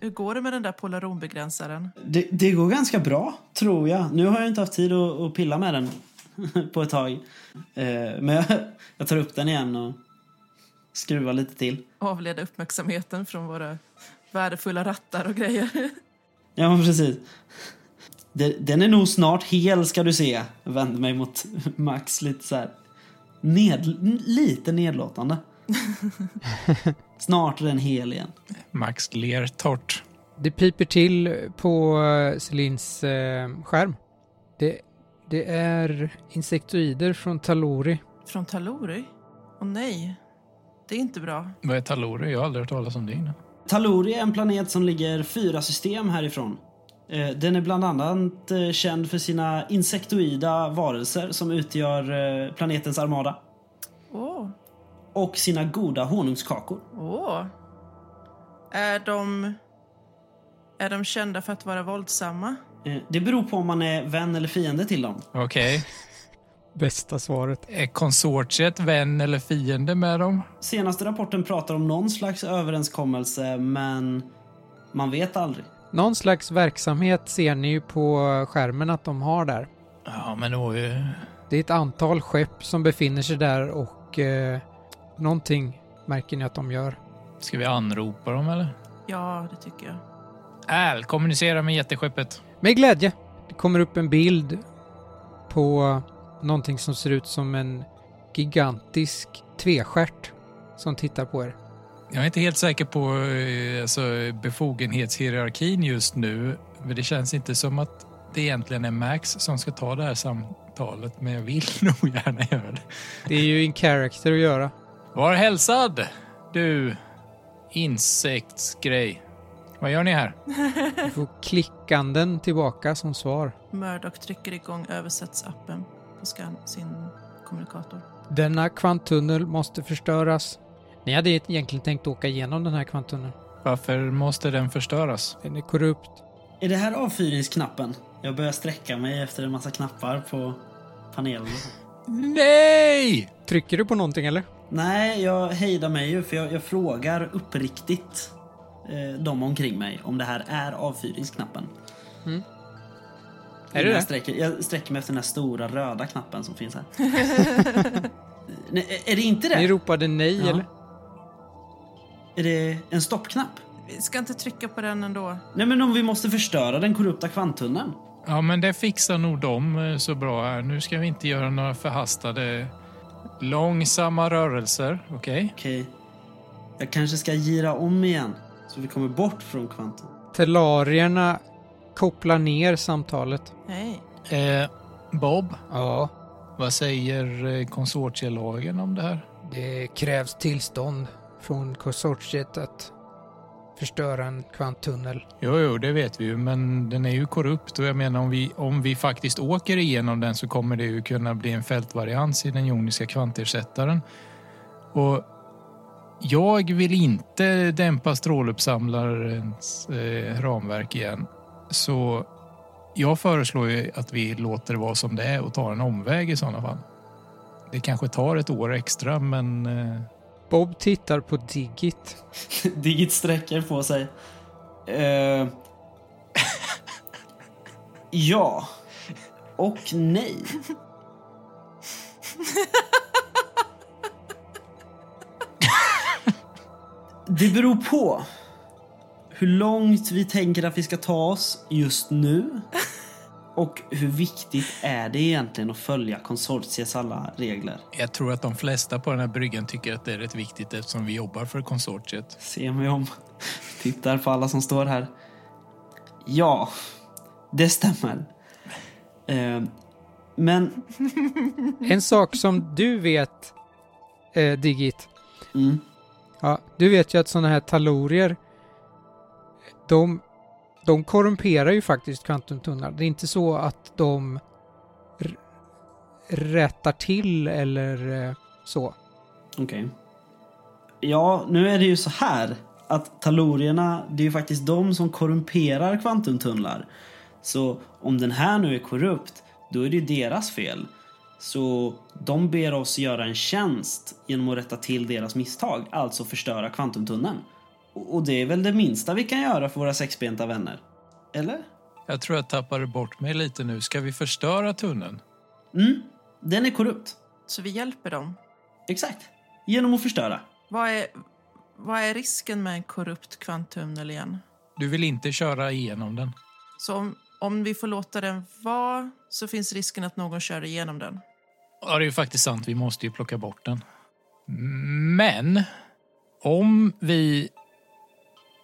Speaker 3: Hur går det med den där polaronbegränsaren?
Speaker 4: Det, det går ganska bra, tror jag. Nu har jag inte haft tid att, att pilla med den på ett tag. Eh, men jag, jag tar upp den igen och skruvar lite till.
Speaker 3: Avleda uppmärksamheten från våra värdefulla rattar och grejer.
Speaker 4: Ja, men precis. Den, den är nog snart hel, ska du se. Jag vänder mig mot Max lite så här. Ned, lite nedlåtande. snart är den hel igen.
Speaker 5: Max ler torrt.
Speaker 8: Det piper till på eh, Celines eh, skärm. Det, det är insektoider från Talori.
Speaker 3: Från Talori? Åh nej, det är inte bra.
Speaker 5: Vad är Talori? Jag har aldrig hört talas om det innan.
Speaker 4: Talori är en planet som ligger fyra system härifrån. Eh, Den är bland annat eh, känd för sina insektoida varelser som utgör eh, planetens armada
Speaker 3: Åh,
Speaker 4: och sina goda honungskakor.
Speaker 3: åh. Är de... Är de kända för att vara våldsamma?
Speaker 4: Eh, Det beror på om man är vän eller fiende till dem.
Speaker 5: Okej.
Speaker 8: Bästa svaret.
Speaker 5: Är konsortiet vän eller fiende med dem?
Speaker 4: Senaste rapporten pratar om någon slags överenskommelse, men man vet aldrig.
Speaker 8: Någon slags verksamhet ser ni ju på skärmen att de har där.
Speaker 5: Ja, men det var ju...
Speaker 8: Det är ett antal skepp som befinner sig där och eh, någonting märker ni att de gör.
Speaker 5: Ska vi anropa dem eller?
Speaker 3: Ja, det tycker jag.
Speaker 5: Al, kommunicera med jätteskeppet.
Speaker 8: Med glädje. Det kommer upp en bild på någonting som ser ut som en gigantisk tvestjärt som tittar på er.
Speaker 5: Jag är inte helt säker på eh, alltså, befogenhetshierarkin just nu. För det känns inte som att det egentligen är Max som ska ta det här samtalet, men jag vill nog gärna göra det.
Speaker 8: Det är ju in character att göra.
Speaker 5: Var hälsad, du insektsgrej. Vad gör ni här?
Speaker 8: Du får klickanden tillbaka som svar.
Speaker 3: Murdoch trycker igång översättsappen på skan- sin kommunikator.
Speaker 8: Denna kvanttunnel måste förstöras. Ni hade egentligen tänkt åka igenom den här kvanttunneln.
Speaker 5: Varför måste den förstöras?
Speaker 8: Den är korrupt.
Speaker 4: Är det här avfyrningsknappen? Jag börjar sträcka mig efter en massa knappar på panelen.
Speaker 5: Nej!
Speaker 8: Trycker du på någonting eller?
Speaker 4: Nej, jag hejdar mig ju för jag, jag frågar uppriktigt eh, de omkring mig om det här är avfyrningsknappen.
Speaker 8: Mm. Är det
Speaker 4: jag,
Speaker 8: det?
Speaker 4: Sträcker, jag sträcker mig efter den här stora röda knappen som finns här. Nej, är det inte
Speaker 8: Ni
Speaker 4: det?
Speaker 8: ropade nej
Speaker 4: Ja.
Speaker 8: eller?
Speaker 4: Är det en stoppknapp?
Speaker 3: Vi ska inte trycka på den ändå.
Speaker 4: Nej, men om vi måste förstöra den korrupta kvanttunneln.
Speaker 5: Ja, men det fixar nog de eh, så bra här. Nu ska vi inte göra några förhastade Långsamma rörelser, okej?
Speaker 4: Okej. Jag kanske ska gira om igen. Så vi kommer bort från kvantum.
Speaker 8: Telarierna kopplar ner samtalet.
Speaker 3: Nej.
Speaker 5: Eh, Bob,
Speaker 8: Ja,
Speaker 5: vad säger eh, konsortielagen om det här?
Speaker 8: det krävs tillstånd från konsortiet att förstöra en kvanttunnel.
Speaker 5: Jo, jo, det vet vi ju, men den är ju korrupt och jag menar om vi, om vi faktiskt åker igenom den så kommer det ju kunna bli en fältvarians i den joniska kvantersättaren. Och jag vill inte dämpa stråluppsamlarens eh, ramverk igen, så jag föreslår ju att vi låter det vara som det är och tar en omväg i sådana fall. Det kanske tar ett år extra, men eh,
Speaker 8: Bob tittar på Digit.
Speaker 4: Digit sträcker på sig. Eh, ja. Och nej. Det beror på hur långt vi tänker att vi ska ta oss just nu och hur viktigt är det egentligen att följa konsortiets alla regler.
Speaker 5: Jag tror att de flesta på den här bryggan tycker att det är rätt viktigt eftersom vi jobbar för konsortiet.
Speaker 4: Se mig om. Tittar på alla som står här. Ja, det stämmer. Eh, men
Speaker 8: En sak som du vet, eh, Digit.
Speaker 4: mm,
Speaker 8: Ja, du vet ju att sådana här talorier, de, de korrumperar ju faktiskt kvantumtunnlar. Det är inte så att de r- rättar till eller eh, så.
Speaker 4: okej. Ja, nu är det ju så här att talorierna, det är ju faktiskt de som korrumperar kvantumtunnlar. Så om den här nu är korrupt, då är det ju deras fel. Så de ber oss göra en tjänst genom att rätta till deras misstag, alltså förstöra kvantumtunneln. Och och det är väl det minsta vi kan göra för våra sexbenta vänner? Eller?
Speaker 5: Jag tror jag tappade bort mig lite nu. Ska vi förstöra tunneln?
Speaker 4: Mm, den är korrupt.
Speaker 3: Så vi hjälper dem.
Speaker 4: Exakt. Genom att förstöra.
Speaker 3: Vad är, vad är risken med en korrupt kvanttunnel igen?
Speaker 5: Du vill inte köra igenom den?
Speaker 3: Så om, om vi får låta den vara så finns risken att någon kör igenom den.
Speaker 5: Ja, det är ju faktiskt sant. Vi måste ju plocka bort den. Men om vi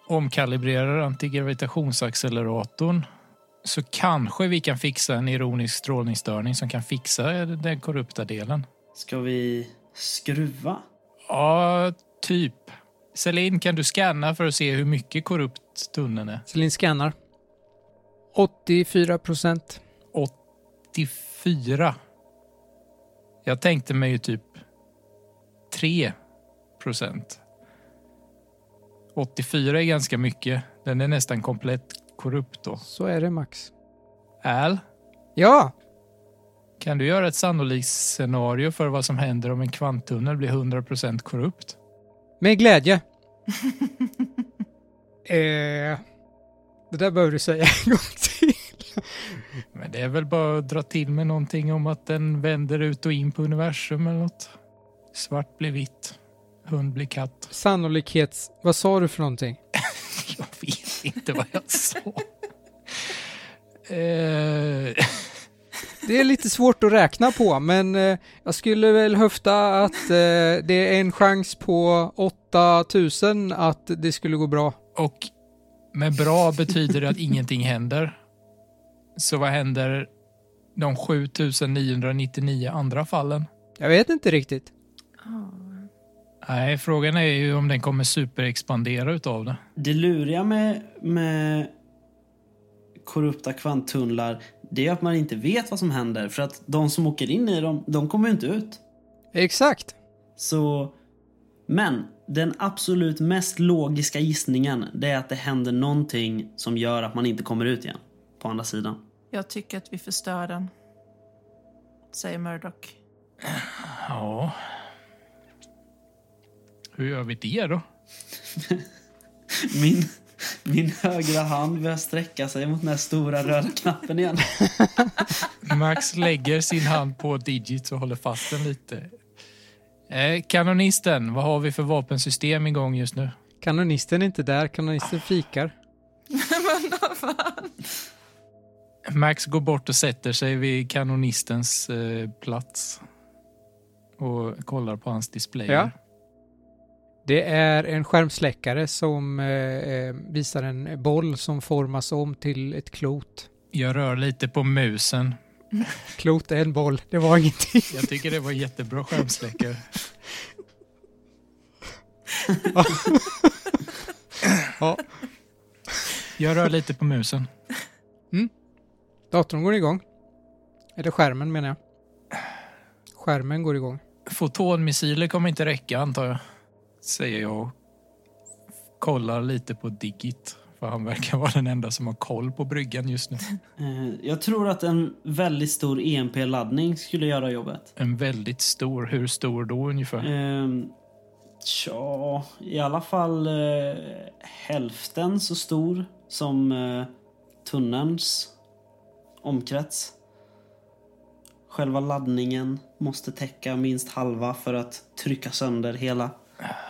Speaker 5: omkalibrerar antigravitationsacceleratorn så kanske vi kan fixa en ironisk strålningsstörning som kan fixa den korrupta delen.
Speaker 4: Ska vi skruva?
Speaker 5: Ja, typ. Celine, kan du scanna för att se hur mycket korrupt tunneln är?
Speaker 8: Celine scannar. 84 procent.
Speaker 5: 84. Jag tänkte mig ju typ 3 procent. 84 är ganska mycket. Den är nästan komplett korrupt då.
Speaker 8: Så är det Max.
Speaker 5: Al,
Speaker 8: Ja!
Speaker 5: kan du göra ett sannolikt scenario för vad som händer om en kvanttunnel blir 100 procent korrupt?
Speaker 8: Med glädje. eh, det där behöver du säga en gång till.
Speaker 5: Men det är väl bara att dra till med någonting om att den vänder ut och in på universum eller något. Svart blir vitt, hund blir katt.
Speaker 8: Sannolikhets... Vad sa du för någonting?
Speaker 5: Jag vet inte vad jag sa. Eh,
Speaker 8: Det är lite svårt att räkna på, men eh, jag skulle väl höfta att eh, det är en chans på 8000 att det skulle gå bra.
Speaker 5: och med bra betyder det att ingenting händer. Så vad händer de 7999 andra fallen?
Speaker 8: Jag vet inte riktigt.
Speaker 5: Nej, frågan är ju om den kommer superexpandera utav det.
Speaker 4: Det luriga med, med korrupta kvanttunnlar det är att man inte vet vad som händer för att de som åker in i dem, de kommer ju inte ut.
Speaker 8: Exakt.
Speaker 4: Så... Men den absolut mest logiska gissningen det är att det händer någonting som gör att man inte kommer ut igen. På andra sidan.
Speaker 3: Jag tycker att vi förstör den. Säger Murdoch.
Speaker 5: Ja. Hur gör vi det då?
Speaker 4: Min, min högra hand börjar sträcka sig mot den här stora röda knappen igen.
Speaker 5: Max lägger sin hand på Digits och håller fast den lite. Eh, kanonisten, vad har vi för vapensystem igång just nu?
Speaker 8: Kanonisten är inte där, kanonisten fikar.
Speaker 5: Max går bort och sätter sig vid kanonistens eh, plats. och kollar på hans display.
Speaker 8: Ja. Det är en skärmsläckare som eh, eh, visar en boll som formas om till ett klot.
Speaker 5: Jag rör lite på musen.
Speaker 8: Klot är en boll, det var ingenting.
Speaker 5: Jag tycker det var jättebra skärmsläckare.
Speaker 8: Ja.
Speaker 5: Jag rör lite på musen.
Speaker 8: Datorn går igång. Eller skärmen menar jag. Skärmen går igång.
Speaker 5: Fotonmissiler kommer inte räcka antar jag. Säger jag och kollar lite på Digit. För han verkar vara den enda som har koll på bryggan just nu.
Speaker 4: Eh, Jag tror att en väldigt stor EMP-laddning skulle göra jobbet.
Speaker 5: En väldigt stor, hur stor då ungefär?
Speaker 4: Ehm, Tja, i alla fall eh, hälften så stor som eh, tunnelns omkrets. Själva laddningen måste täcka minst halva för att trycka sönder hela.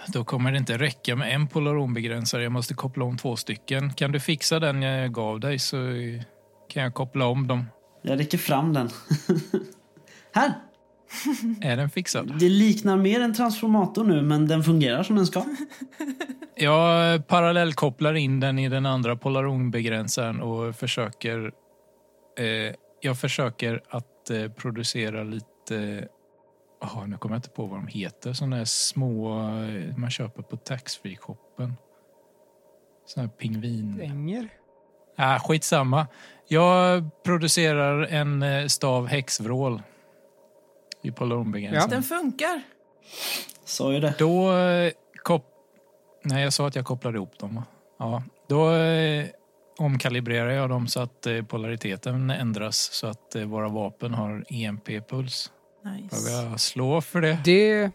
Speaker 5: Då kommer det inte räcka med en polaronbegränsare. Jag måste koppla om två stycken. Kan du fixa den jag gav dig så eh, kan jag koppla om dem.
Speaker 4: Jag räcker fram den. Här!
Speaker 5: Är den fixad?
Speaker 4: Det liknar mer en transformator nu, men den fungerar som den ska.
Speaker 5: Jag parallellkopplar in den i den andra polaronbegränsaren och försöker... Eh, jag försöker att eh, producera lite... Oh, nu kommer jag inte på vad de heter. Såna här små eh, man köper på taxfree-shoppen. Såna här pingvin...
Speaker 8: Änger?
Speaker 5: Ah, skitsamma. Jag producerar en eh, stav häxvrål i
Speaker 8: Ja.
Speaker 5: polaronbegränsaren.
Speaker 3: Den funkar.
Speaker 4: Sa ju det.
Speaker 5: Då eh, kop... Nej, jag sa att jag kopplade ihop dem. va? Ja, då eh, omkalibrerar jag dem så att eh, polariteten ändras så att eh, våra vapen har E EMP-puls.
Speaker 3: Nice.
Speaker 5: Behöver jag slå för det?
Speaker 8: Det...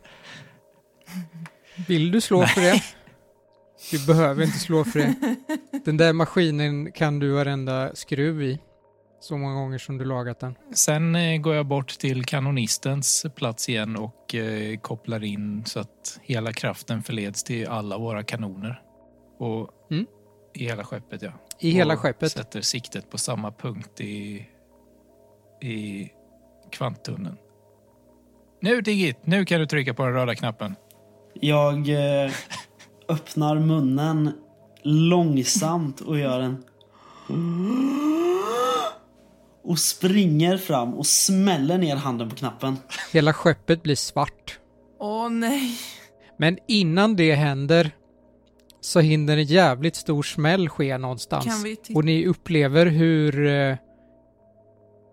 Speaker 8: Vill du slå för det? Du behöver inte slå för det. Den där maskinen kan du varenda skruv i. Så många gånger som du lagat den.
Speaker 5: Sen eh, går jag bort till kanonistens plats igen och eh, kopplar in så att hela kraften förleds till alla våra kanoner. Och
Speaker 8: Mm.
Speaker 5: I hela skeppet, ja.
Speaker 8: I hela
Speaker 5: och
Speaker 8: skeppet.
Speaker 5: sätter siktet på samma punkt i, i kvanttunneln. Nu Digit, nu kan du trycka på den röda knappen.
Speaker 4: Jag eh, öppnar munnen långsamt och gör en... Och springer fram och smäller ner handen på knappen.
Speaker 8: Hela skeppet blir svart.
Speaker 3: Åh nej.
Speaker 8: Men innan det händer så hinner en jävligt stor smäll ske någonstans.
Speaker 3: Kan vi titta-
Speaker 8: Och ni upplever hur eh,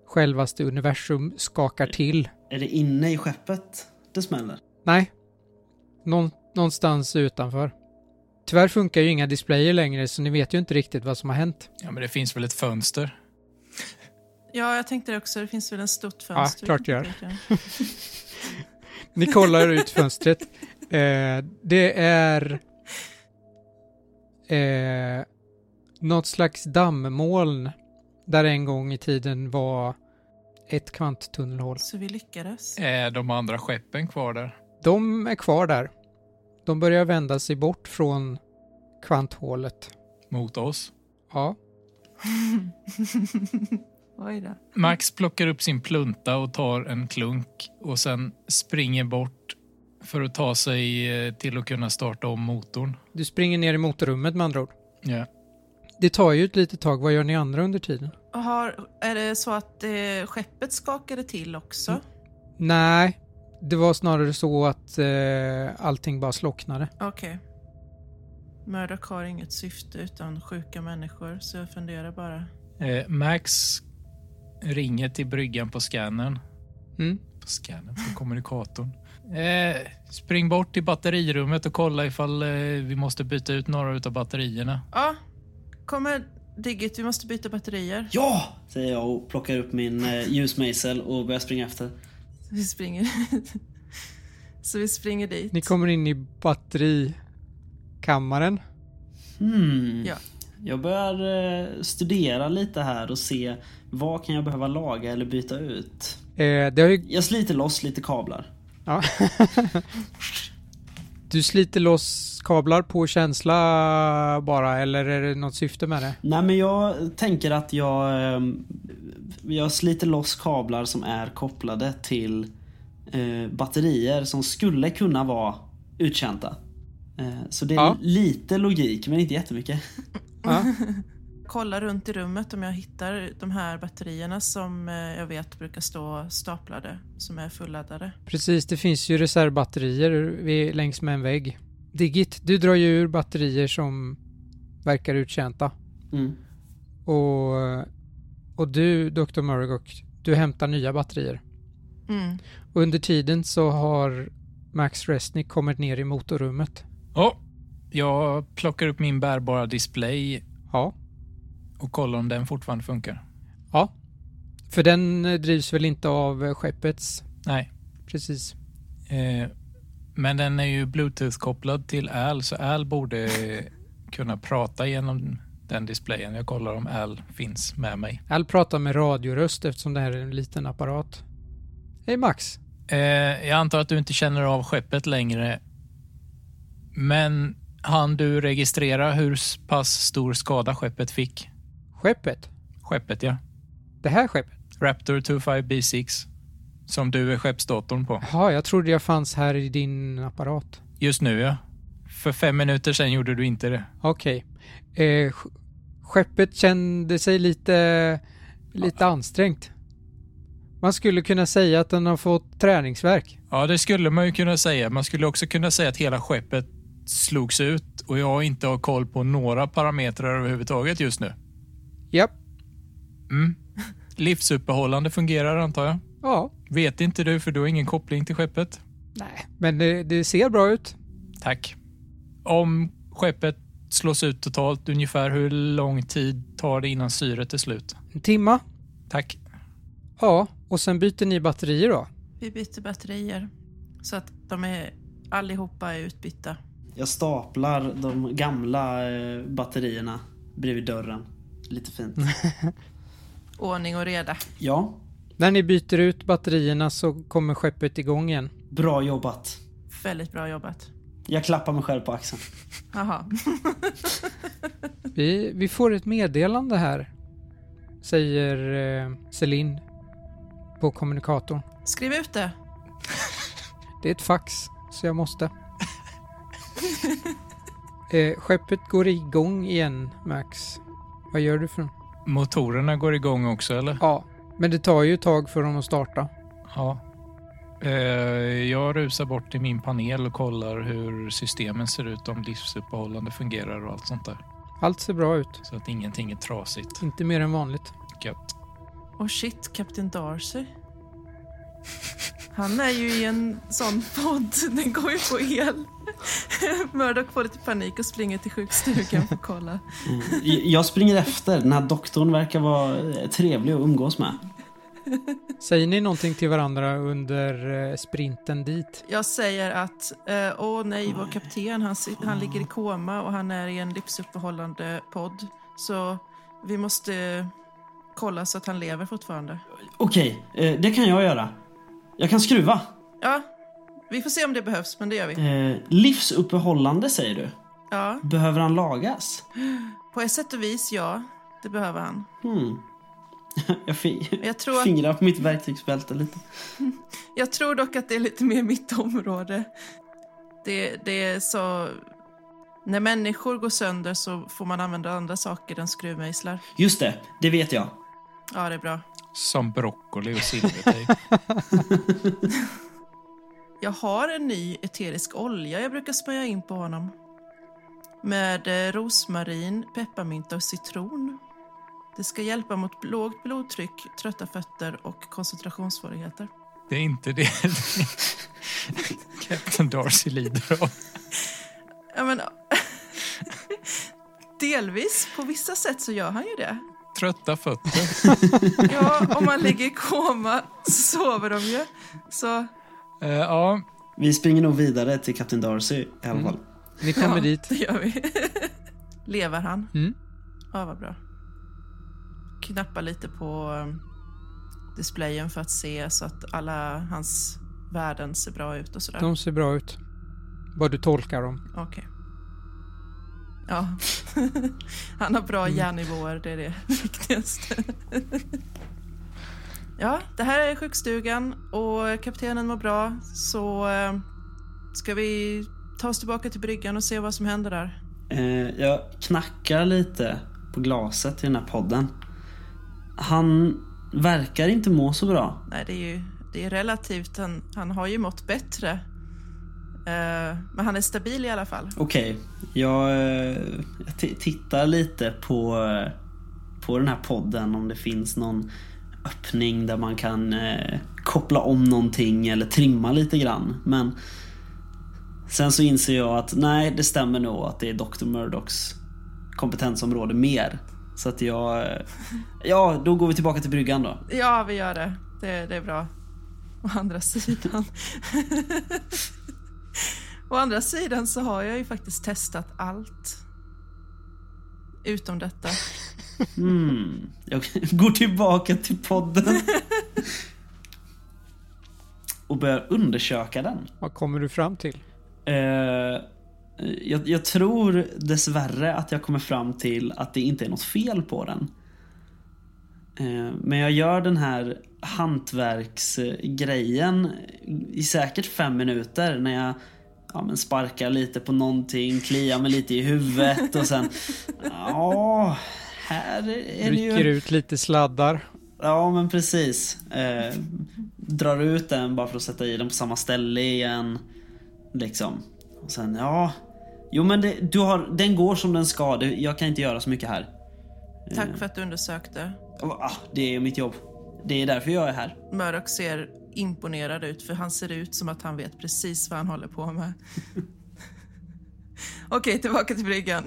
Speaker 8: självaste universum skakar till.
Speaker 4: Är det inne i skeppet det smäller?
Speaker 8: Nej, Nån, någonstans utanför. Tyvärr funkar ju inga displayer längre så ni vet ju inte riktigt vad som har hänt.
Speaker 5: Ja, men det finns väl ett fönster?
Speaker 3: Ja, jag tänkte det också. Det finns väl en stort
Speaker 8: Ja,
Speaker 3: fönster?
Speaker 8: klart det gör. Ni kollar ut fönstret. Eh, det är eh, något slags dammmoln där en gång i tiden var ett kvanttunnelhål.
Speaker 3: Så vi
Speaker 8: Eh.
Speaker 3: lyckades.
Speaker 5: Är de andra skeppen kvar där?
Speaker 8: De är kvar där. De börjar vända sig bort från kvanthålet.
Speaker 5: Mot oss?
Speaker 8: Ja,
Speaker 3: Oj då.
Speaker 5: Max plockar upp sin plunta och tar en klunk och sen springer bort för att ta sig eh, till att kunna starta om motorn.
Speaker 8: du springer ner i motorrummet med andra ord.
Speaker 5: Ja.
Speaker 8: Det tar ju ett litet tag. Vad gör ni andra under tiden?
Speaker 3: Och Har, är det så att eh, skeppet skakade till också?
Speaker 8: Mm. Nej, det var snarare så att eh, allting bara slocknade.
Speaker 3: Okej. Mördak har inget syfte utan sjuka människor, så jag funderar bara.
Speaker 5: Eh, Max ringer till bryggan på scannern.
Speaker 8: Mm.
Speaker 5: På scannern? På kommunikatorn. Eh, spring bort till batterirummet och kolla ifall eh, vi måste byta ut några utav batterierna.
Speaker 3: Ja, kommer Digit, vi måste byta batterier.
Speaker 4: Ja! Säger jag och plockar upp min eh, ljusmejsel och börjar springa efter.
Speaker 3: Vi springer Så vi springer dit.
Speaker 8: Ni kommer in i batterikammaren.
Speaker 4: Hmm.
Speaker 3: Ja.
Speaker 4: Jag börjar eh, studera lite här och se vad kan jag behöva laga eller byta ut.
Speaker 8: Eh, det har ju...
Speaker 4: Jag sliter loss lite kablar.
Speaker 8: Ja. du sliter loss kablar på känsla bara, eller är det något syfte med det?
Speaker 4: Nej men jag tänker att ehm, jag, eh, jag sliter loss kablar som är kopplade till eh, batterier som skulle kunna vara uttjänta. Eh, så det är
Speaker 8: Ja.
Speaker 4: lite logik, men inte jättemycket.
Speaker 8: Ja.
Speaker 3: kolla runt i rummet om jag hittar de här batterierna som eh, jag vet brukar stå staplade, som är fulladdade.
Speaker 8: Precis, det finns ju reservbatterier vid, längs med en vägg. Digit, du drar ju ur batterier som verkar uttjänta.
Speaker 4: Mm.
Speaker 8: Och, och du, Dr. Murdoch, du hämtar nya batterier.
Speaker 3: Mm.
Speaker 8: Och under tiden så har Max Resnick kommit ner i motorrummet.
Speaker 5: Ja, jag plockar upp min bärbara display
Speaker 8: Ja,
Speaker 5: och kollar om den fortfarande funkar.
Speaker 8: ja. För den eh, drivs väl inte av eh, skeppets?
Speaker 5: Nej,
Speaker 8: Precis.
Speaker 5: eh, men den är ju bluetooth-kopplad till Al, så Al borde kunna prata genom den displayen. Jag kollar om Al finns med mig.
Speaker 8: Al pratar med radioröst eftersom det här är en liten apparat. Hej Max!
Speaker 5: Eh, jag antar att du inte känner av skeppet längre. Men han du registrera hur s- pass stor skada skeppet fick?
Speaker 8: Skeppet?
Speaker 5: Skeppet, ja.
Speaker 8: Det här skeppet?
Speaker 5: Raptor 25B6. Som du är skeppsdatorn på.
Speaker 8: Jaha, jag trodde jag fanns här i din apparat.
Speaker 5: Just nu, ja. För fem minuter sedan gjorde du inte det.
Speaker 8: Okej. Eh, sk- skeppet kände sig lite, lite ansträngt. Man skulle kunna säga att den har fått träningsverk.
Speaker 5: Ja, det skulle man ju kunna säga. Man skulle också kunna säga att hela skeppet slogs ut och jag inte har koll på några parametrar överhuvudtaget just nu.
Speaker 8: Japp.
Speaker 5: Mm. Livsuppehållande fungerar antar jag.
Speaker 8: Ja.
Speaker 5: Vet inte du för du har ingen koppling till skeppet.
Speaker 8: Nej. Men det, det ser bra ut.
Speaker 5: Tack. Om skeppet slås ut totalt, ungefär hur lång tid tar det innan syret är slut?
Speaker 8: En timma.
Speaker 5: Tack.
Speaker 8: Ja. Och sen byter ni batterier då?
Speaker 3: Vi byter batterier så att de är allihopa är utbytta.
Speaker 4: Jag staplar de gamla eh, batterierna bredvid dörren. Lite fint.
Speaker 3: Ordning och reda.
Speaker 4: Ja,
Speaker 8: När ni byter ut batterierna så kommer skeppet igång igen.
Speaker 4: bra jobbat.
Speaker 3: Väldigt bra jobbat.
Speaker 4: Jag klappar mig själv på axeln.
Speaker 3: Jaha.
Speaker 8: Vi, vi får ett meddelande här. Säger eh, Celine på kommunikatorn.
Speaker 3: Skriv ut det.
Speaker 8: Det är ett fax, så jag måste. eh, skeppet går igång igen, Max. Vad gör du för dem?
Speaker 5: Motorerna går igång också, eller?
Speaker 8: Ja, men det tar ju ett tag för dem att starta.
Speaker 5: Ja. Eh, Jag rusar bort till min panel och kollar hur systemen ser ut, om livsuppehållande fungerar och allt sånt där.
Speaker 8: Allt ser bra ut.
Speaker 5: Så att ingenting är trasigt.
Speaker 8: Inte mer än vanligt.
Speaker 5: Gött.
Speaker 3: Och Oh, shit, Kapten Darcy. Han är ju i en sån podd. Den går ju på el. Murdoch får lite panik och springer till sjukstugan för att kolla.
Speaker 4: J- Jag springer efter. Den här doktorn verkar vara eh, trevlig att umgås med.
Speaker 8: Säger ni någonting till varandra under eh, sprinten dit?
Speaker 3: Jag säger att, eh, åh nej, vår kapten, han, si- han ligger i koma och han är i en livsuppehållande podd. Så vi måste eh, kolla så att han lever fortfarande.
Speaker 4: Okej, eh, det kan jag göra. Jag kan skruva.
Speaker 3: Ja, vi får se om det behövs, men det gör vi.
Speaker 4: Eh, livsuppehållande säger du.
Speaker 3: Ja,
Speaker 4: Behöver han lagas?
Speaker 3: på ett sätt och vis, ja. Det behöver han.
Speaker 4: Hmm. Jag fick
Speaker 3: Jag tror att-
Speaker 4: fingrar på mitt verktygsbälte lite.
Speaker 3: Jag tror dock att det är lite mer mitt område. Det, det är så... När människor går sönder så får man använda andra saker än skruvmejslar.
Speaker 4: Just det, det vet jag.
Speaker 3: Ja, det är bra.
Speaker 5: Som broccoli och silvertejp.
Speaker 3: Jag har en ny eterisk olja jag brukar smörja in på honom. Med eh, rosmarin, pepparmynta och citron. Det ska hjälpa mot lågt blodtryck, trötta fötter och koncentrationssvårigheter.
Speaker 5: Det är inte det Captain Darcy lider av.
Speaker 3: Ja, men... Delvis. På vissa sätt så gör han ju det.
Speaker 5: Trötta fötter.
Speaker 3: Ja, om man ligger i koma så sover de ju. Så
Speaker 5: Eh, Ja,
Speaker 4: Vi springer nog vidare till Kapten Darcy i alla fall.
Speaker 8: Ni kommer
Speaker 3: ja,
Speaker 8: dit.
Speaker 3: det gör vi. Lever han?
Speaker 8: Mm.
Speaker 3: Ja, vad bra. Knappa lite på um, displayen för att se så att alla hans värden ser bra ut och sådär.
Speaker 8: De ser bra ut. Vad du tolkar dem.
Speaker 3: Okej. Ja. Han har bra järnnivåer, det är det viktigaste. Ja, det här är sjukstugan och kaptenen mår bra så eh, ska vi ta oss tillbaka till bryggan och se vad som händer där.
Speaker 4: Eh, jag knackar lite på glaset i den här podden. Han verkar inte må så bra.
Speaker 3: Nej, det är ju det är relativt. Han, han har ju mått bättre. Eh, men han är stabil i alla fall.
Speaker 4: Okej, jag, eh, jag ti- tittar lite på, eh, på den här podden om det finns någon öppning där man kan eh, koppla om någonting eller trimma lite grann. Men sen så inser jag att nej, det stämmer nog att det är Dr. Murdocks kompetensområde mer. Så att jag... eh, Ja, då går vi tillbaka till bryggan då.
Speaker 3: Ja, vi gör det. Det, det är bra. Å andra sidan. Å andra sidan så har jag ju faktiskt testat allt. Utom detta.
Speaker 4: Mm. Jag går tillbaka till podden. Och börjar undersöka den.
Speaker 8: Vad kommer du fram till?
Speaker 4: Eh, jag, jag tror dessvärre att jag kommer fram till att det inte är något fel på den. Eh, men jag gör den här hantverksgrejen i säkert fem minuter när jag ja, men sparkar lite på någonting, kliar mig lite i huvudet och sen... Ja, här är det
Speaker 8: Rycker
Speaker 4: ju...
Speaker 8: ut lite sladdar.
Speaker 4: Ja, men precis. Eh, drar ut den bara för att sätta i den på samma ställe igen. Liksom. Och sen, ja. Jo, men det, du har, den går som den ska. Det, jag kan inte göra så mycket här.
Speaker 3: Tack för att du undersökte.
Speaker 4: Och, Ah, det är mitt jobb. Det är därför jag är här.
Speaker 3: Mörok ser imponerad ut för han ser ut som att han vet precis vad han håller på med. Okej, tillbaka till bryggan.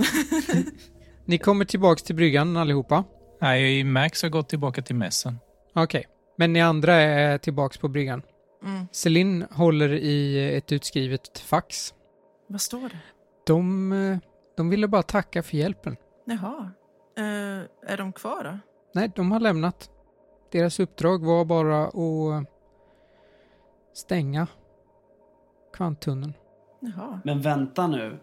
Speaker 8: Ni kommer tillbaks till bryggan allihopa.
Speaker 5: Nej, Max har gått tillbaka till mässen.
Speaker 8: Okej, men ni andra är tillbaks på bryggan. Celine håller i ett utskrivet fax.
Speaker 3: vad står det?
Speaker 8: De, eh, de ville bara tacka för hjälpen.
Speaker 3: Jaha. Eh, är de kvar då?
Speaker 8: Nej, de har lämnat. Deras uppdrag var bara att stänga kvanttunneln.
Speaker 3: Jaha.
Speaker 4: Men vänta nu.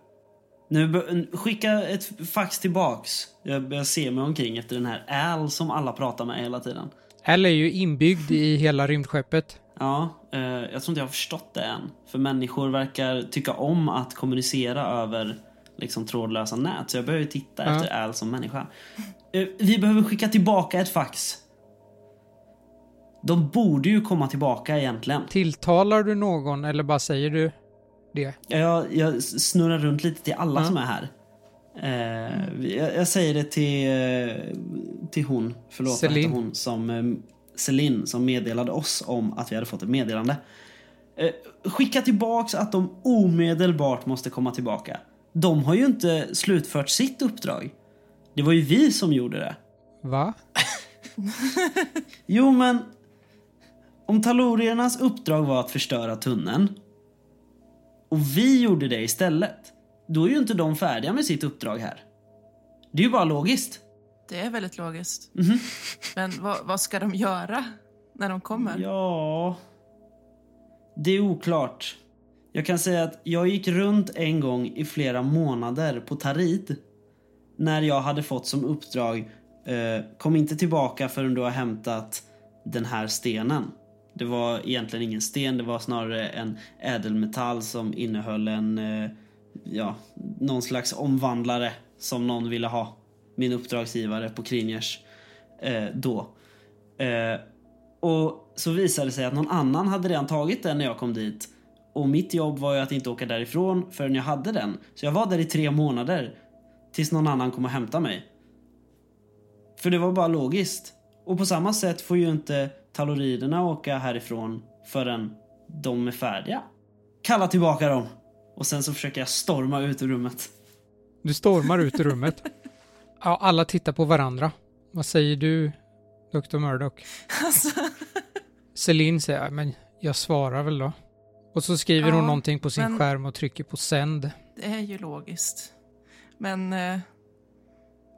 Speaker 4: nu bör- skicka ett fax tillbaks. Jag, jag ser mig omkring efter den här Al som alla pratar med hela tiden.
Speaker 8: Al är ju inbyggd i hela rymdskeppet.
Speaker 4: Ja, eh, jag tror inte jag har förstått det än. För människor verkar tycka om att kommunicera över liksom, trådlösa nät. Så jag behöver ju titta
Speaker 8: Ja.
Speaker 4: efter Al som människa. Eh, vi behöver skicka tillbaka ett fax. De borde ju komma tillbaka egentligen.
Speaker 8: Tilltalar du någon eller bara säger du det?
Speaker 4: Jag, jag snurrar runt lite till alla som är här. Eh, jag, jag säger det till, eh, till hon, förlåt, vad hette
Speaker 8: Celine.
Speaker 4: hon som, eh, Celine som meddelade oss om att vi hade fått ett meddelande. Eh, skicka tillbaks att de omedelbart måste komma tillbaka. De har ju inte slutfört sitt uppdrag. Det var ju vi som gjorde det.
Speaker 8: Va?
Speaker 4: Jo, men om taloriernas uppdrag var att förstöra tunneln och vi gjorde det istället, då är ju inte de färdiga med sitt uppdrag här. Det är ju bara logiskt.
Speaker 3: Det är väldigt logiskt. Men vad, vad ska de göra när de kommer?
Speaker 4: Ja... Det är oklart. Jag kan säga att jag gick runt en gång i flera månader på Tarid när jag hade fått som uppdrag eh, kom inte tillbaka förrän du har hämtat den här stenen. Det var egentligen ingen sten, det var snarare en ädelmetall som innehöll en, eh, ja, någon slags omvandlare som någon ville ha. Min uppdragsgivare på Kringers eh, då. Eh, och så visade det sig att någon annan hade redan tagit den när jag kom dit. Och mitt jobb var ju att inte åka därifrån förrän jag hade den. Så jag var där i tre månader. Tills någon annan kom och hämtade mig. För det var bara logiskt. Och på samma sätt får ju inte taloriderna åka härifrån förrän de är färdiga. Kalla tillbaka dem! Och sen så försöker jag storma ut ur rummet.
Speaker 8: Du stormar ut ur rummet. Ja, alla tittar på varandra. Vad säger du, Dr. Murdoch?
Speaker 3: Alltså,
Speaker 8: Celine säger, "Ja, men jag svarar väl då. Och så skriver
Speaker 3: Ja,
Speaker 8: hon någonting på sin
Speaker 3: men-
Speaker 8: skärm och trycker på sänd.
Speaker 3: det är ju logiskt. Men... eh,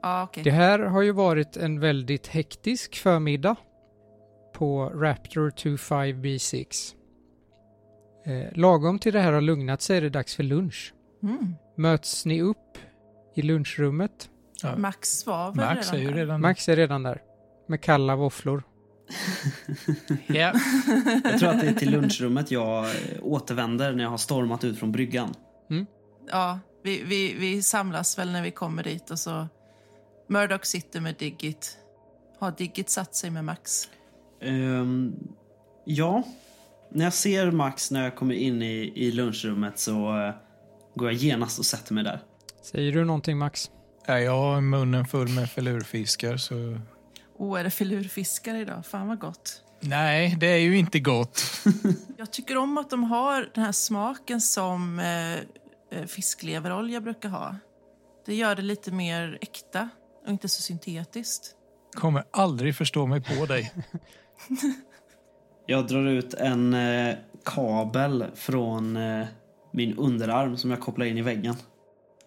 Speaker 3: ja, okej.
Speaker 8: Det här har ju varit en väldigt hektisk förmiddag på Raptor 25B6. Eh, lagom till det här har lugnat sig är det dags för lunch.
Speaker 3: Mm.
Speaker 8: Möts ni upp i lunchrummet?
Speaker 5: Ja,
Speaker 3: Max var väl
Speaker 5: Max är
Speaker 3: redan
Speaker 5: ju
Speaker 3: där?
Speaker 5: redan...
Speaker 8: Max är redan där med kalla våfflor.
Speaker 5: Ja,
Speaker 4: Jag tror att det är till lunchrummet jag eh, återvänder när jag har stormat ut från bryggan.
Speaker 3: Ja, vi, vi, vi samlas väl när vi kommer dit och så... Murdoch sitter med Diggit. Har Diggit satt sig med Max?
Speaker 4: Ehm, ja, när jag ser Max när jag kommer in i, i lunchrummet så eh, går jag genast och sätter mig där.
Speaker 8: Säger du någonting Max?
Speaker 5: Ja, jag har munnen full med filurfiskar så...
Speaker 3: Åh, är det filurfiskar idag? Fan vad gott.
Speaker 5: Nej, det är ju inte gott.
Speaker 3: Jag tycker om att de har den här smaken som eh, eh, fiskleverolja brukar ha. Det gör det lite mer äkta och inte så syntetiskt.
Speaker 5: Kommer aldrig förstå mig på dig.
Speaker 4: Jag drar ut en eh, kabel från eh, min underarm som jag kopplar in i väggen.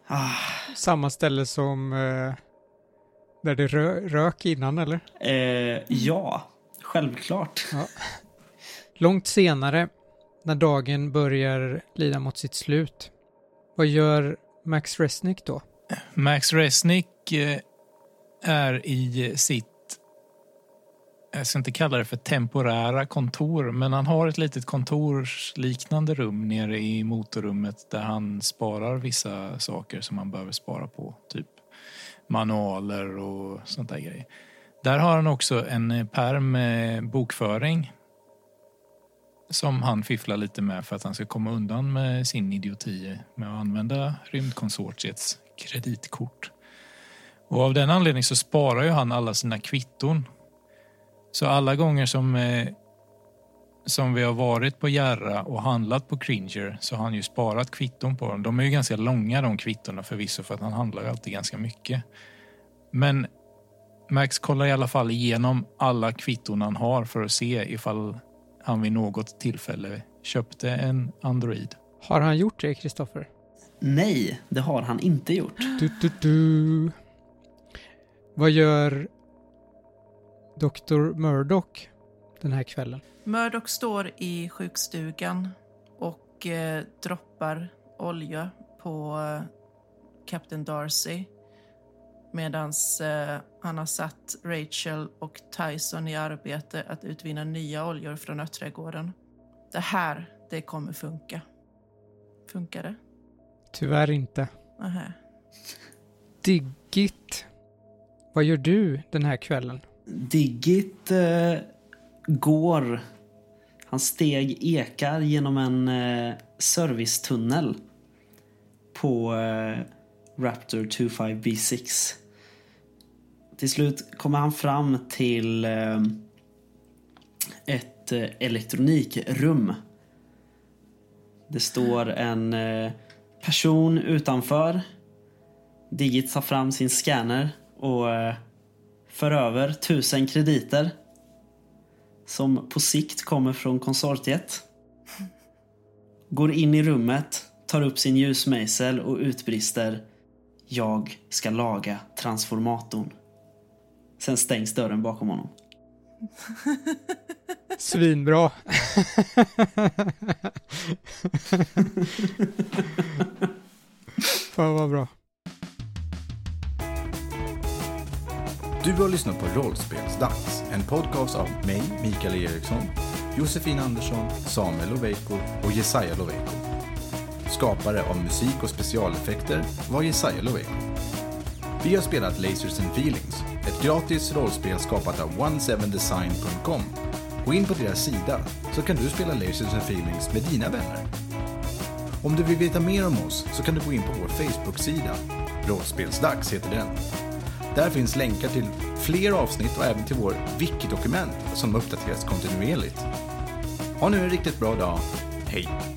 Speaker 4: Ah,
Speaker 8: Samma ställe som eh, där det rö- rök innan eller?
Speaker 4: eh, ja, självklart.
Speaker 8: Långt senare, när dagen börjar lida mot sitt slut, vad gör Max Resnick då?
Speaker 5: Max Resnick eh, är i sitt, jag ska inte kalla det för temporära kontor, men han har ett litet kontorsliknande rum nere i motorrummet där han sparar vissa saker som han behöver spara på, typ manualer och sånt där grejer. Där har han också en eh, pärm med bokföring som han fifflar lite med för att han ska komma undan med sin idioti med att använda rymdkonsortiets kreditkort. Och av den anledningen så sparar ju han alla sina kvitton. Så alla gånger som, eh, som vi har varit på Järra och handlat på Cringer så har han ju sparat kvitton på dem. De är ju ganska långa de kvittorna förvisso för att han handlar ju alltid ganska mycket. Men Max kollar i alla fall igenom alla kvitton han har för att se ifall han vid något tillfälle köpte en Android.
Speaker 8: Har han gjort det, Kristoffer?
Speaker 4: Nej, det har han inte gjort.
Speaker 8: Du, du, du. Vad gör Dr. Murdoch den här kvällen?
Speaker 3: Murdoch står i sjukstugan och eh, droppar olja på eh, Captain Darcy medan eh, han har satt Rachel och Tyson i arbete att utvinna nya oljor från örtträdgården. Det här, det kommer funka. Funkar det?
Speaker 8: Tyvärr inte.
Speaker 3: Nähä.
Speaker 8: Diggit. Vad gör du den här kvällen?
Speaker 4: Diggit eh, går. Hans steg ekar genom en eh, servicetunnel på eh, Raptor 25B6. Till slut kommer han fram till eh, ett eh, elektronikrum. Det står en eh, person utanför. Digit tar fram sin scanner och eh, för över tusen krediter som på sikt kommer från konsortiet. Går in i rummet, tar upp sin ljusmejsel och utbrister Jag ska laga transformatorn. Sen stängs dörren bakom honom.
Speaker 8: Svinbra. Fan vad bra.
Speaker 6: Du har lyssnat på Rollspelsdags, en podcast av mig, Mikael Eriksson, Josefin Andersson, Samuel Loveiko och Jesaja Loveiko. Skapare av musik och specialeffekter var Jesaja Loveiko. Vi har spelat Lasers and Feelings, ett gratis rollspel skapat av 17design.com. Gå in på deras sida så kan du spela Lasers and Feelings med dina vänner. Om du vill veta mer om oss så kan du gå in på vår Facebook-sida. Rollspelsdags heter den. Där finns länkar till fler avsnitt och även till vår wiki-dokument som uppdateras kontinuerligt. Ha nu en riktigt bra dag. Hej!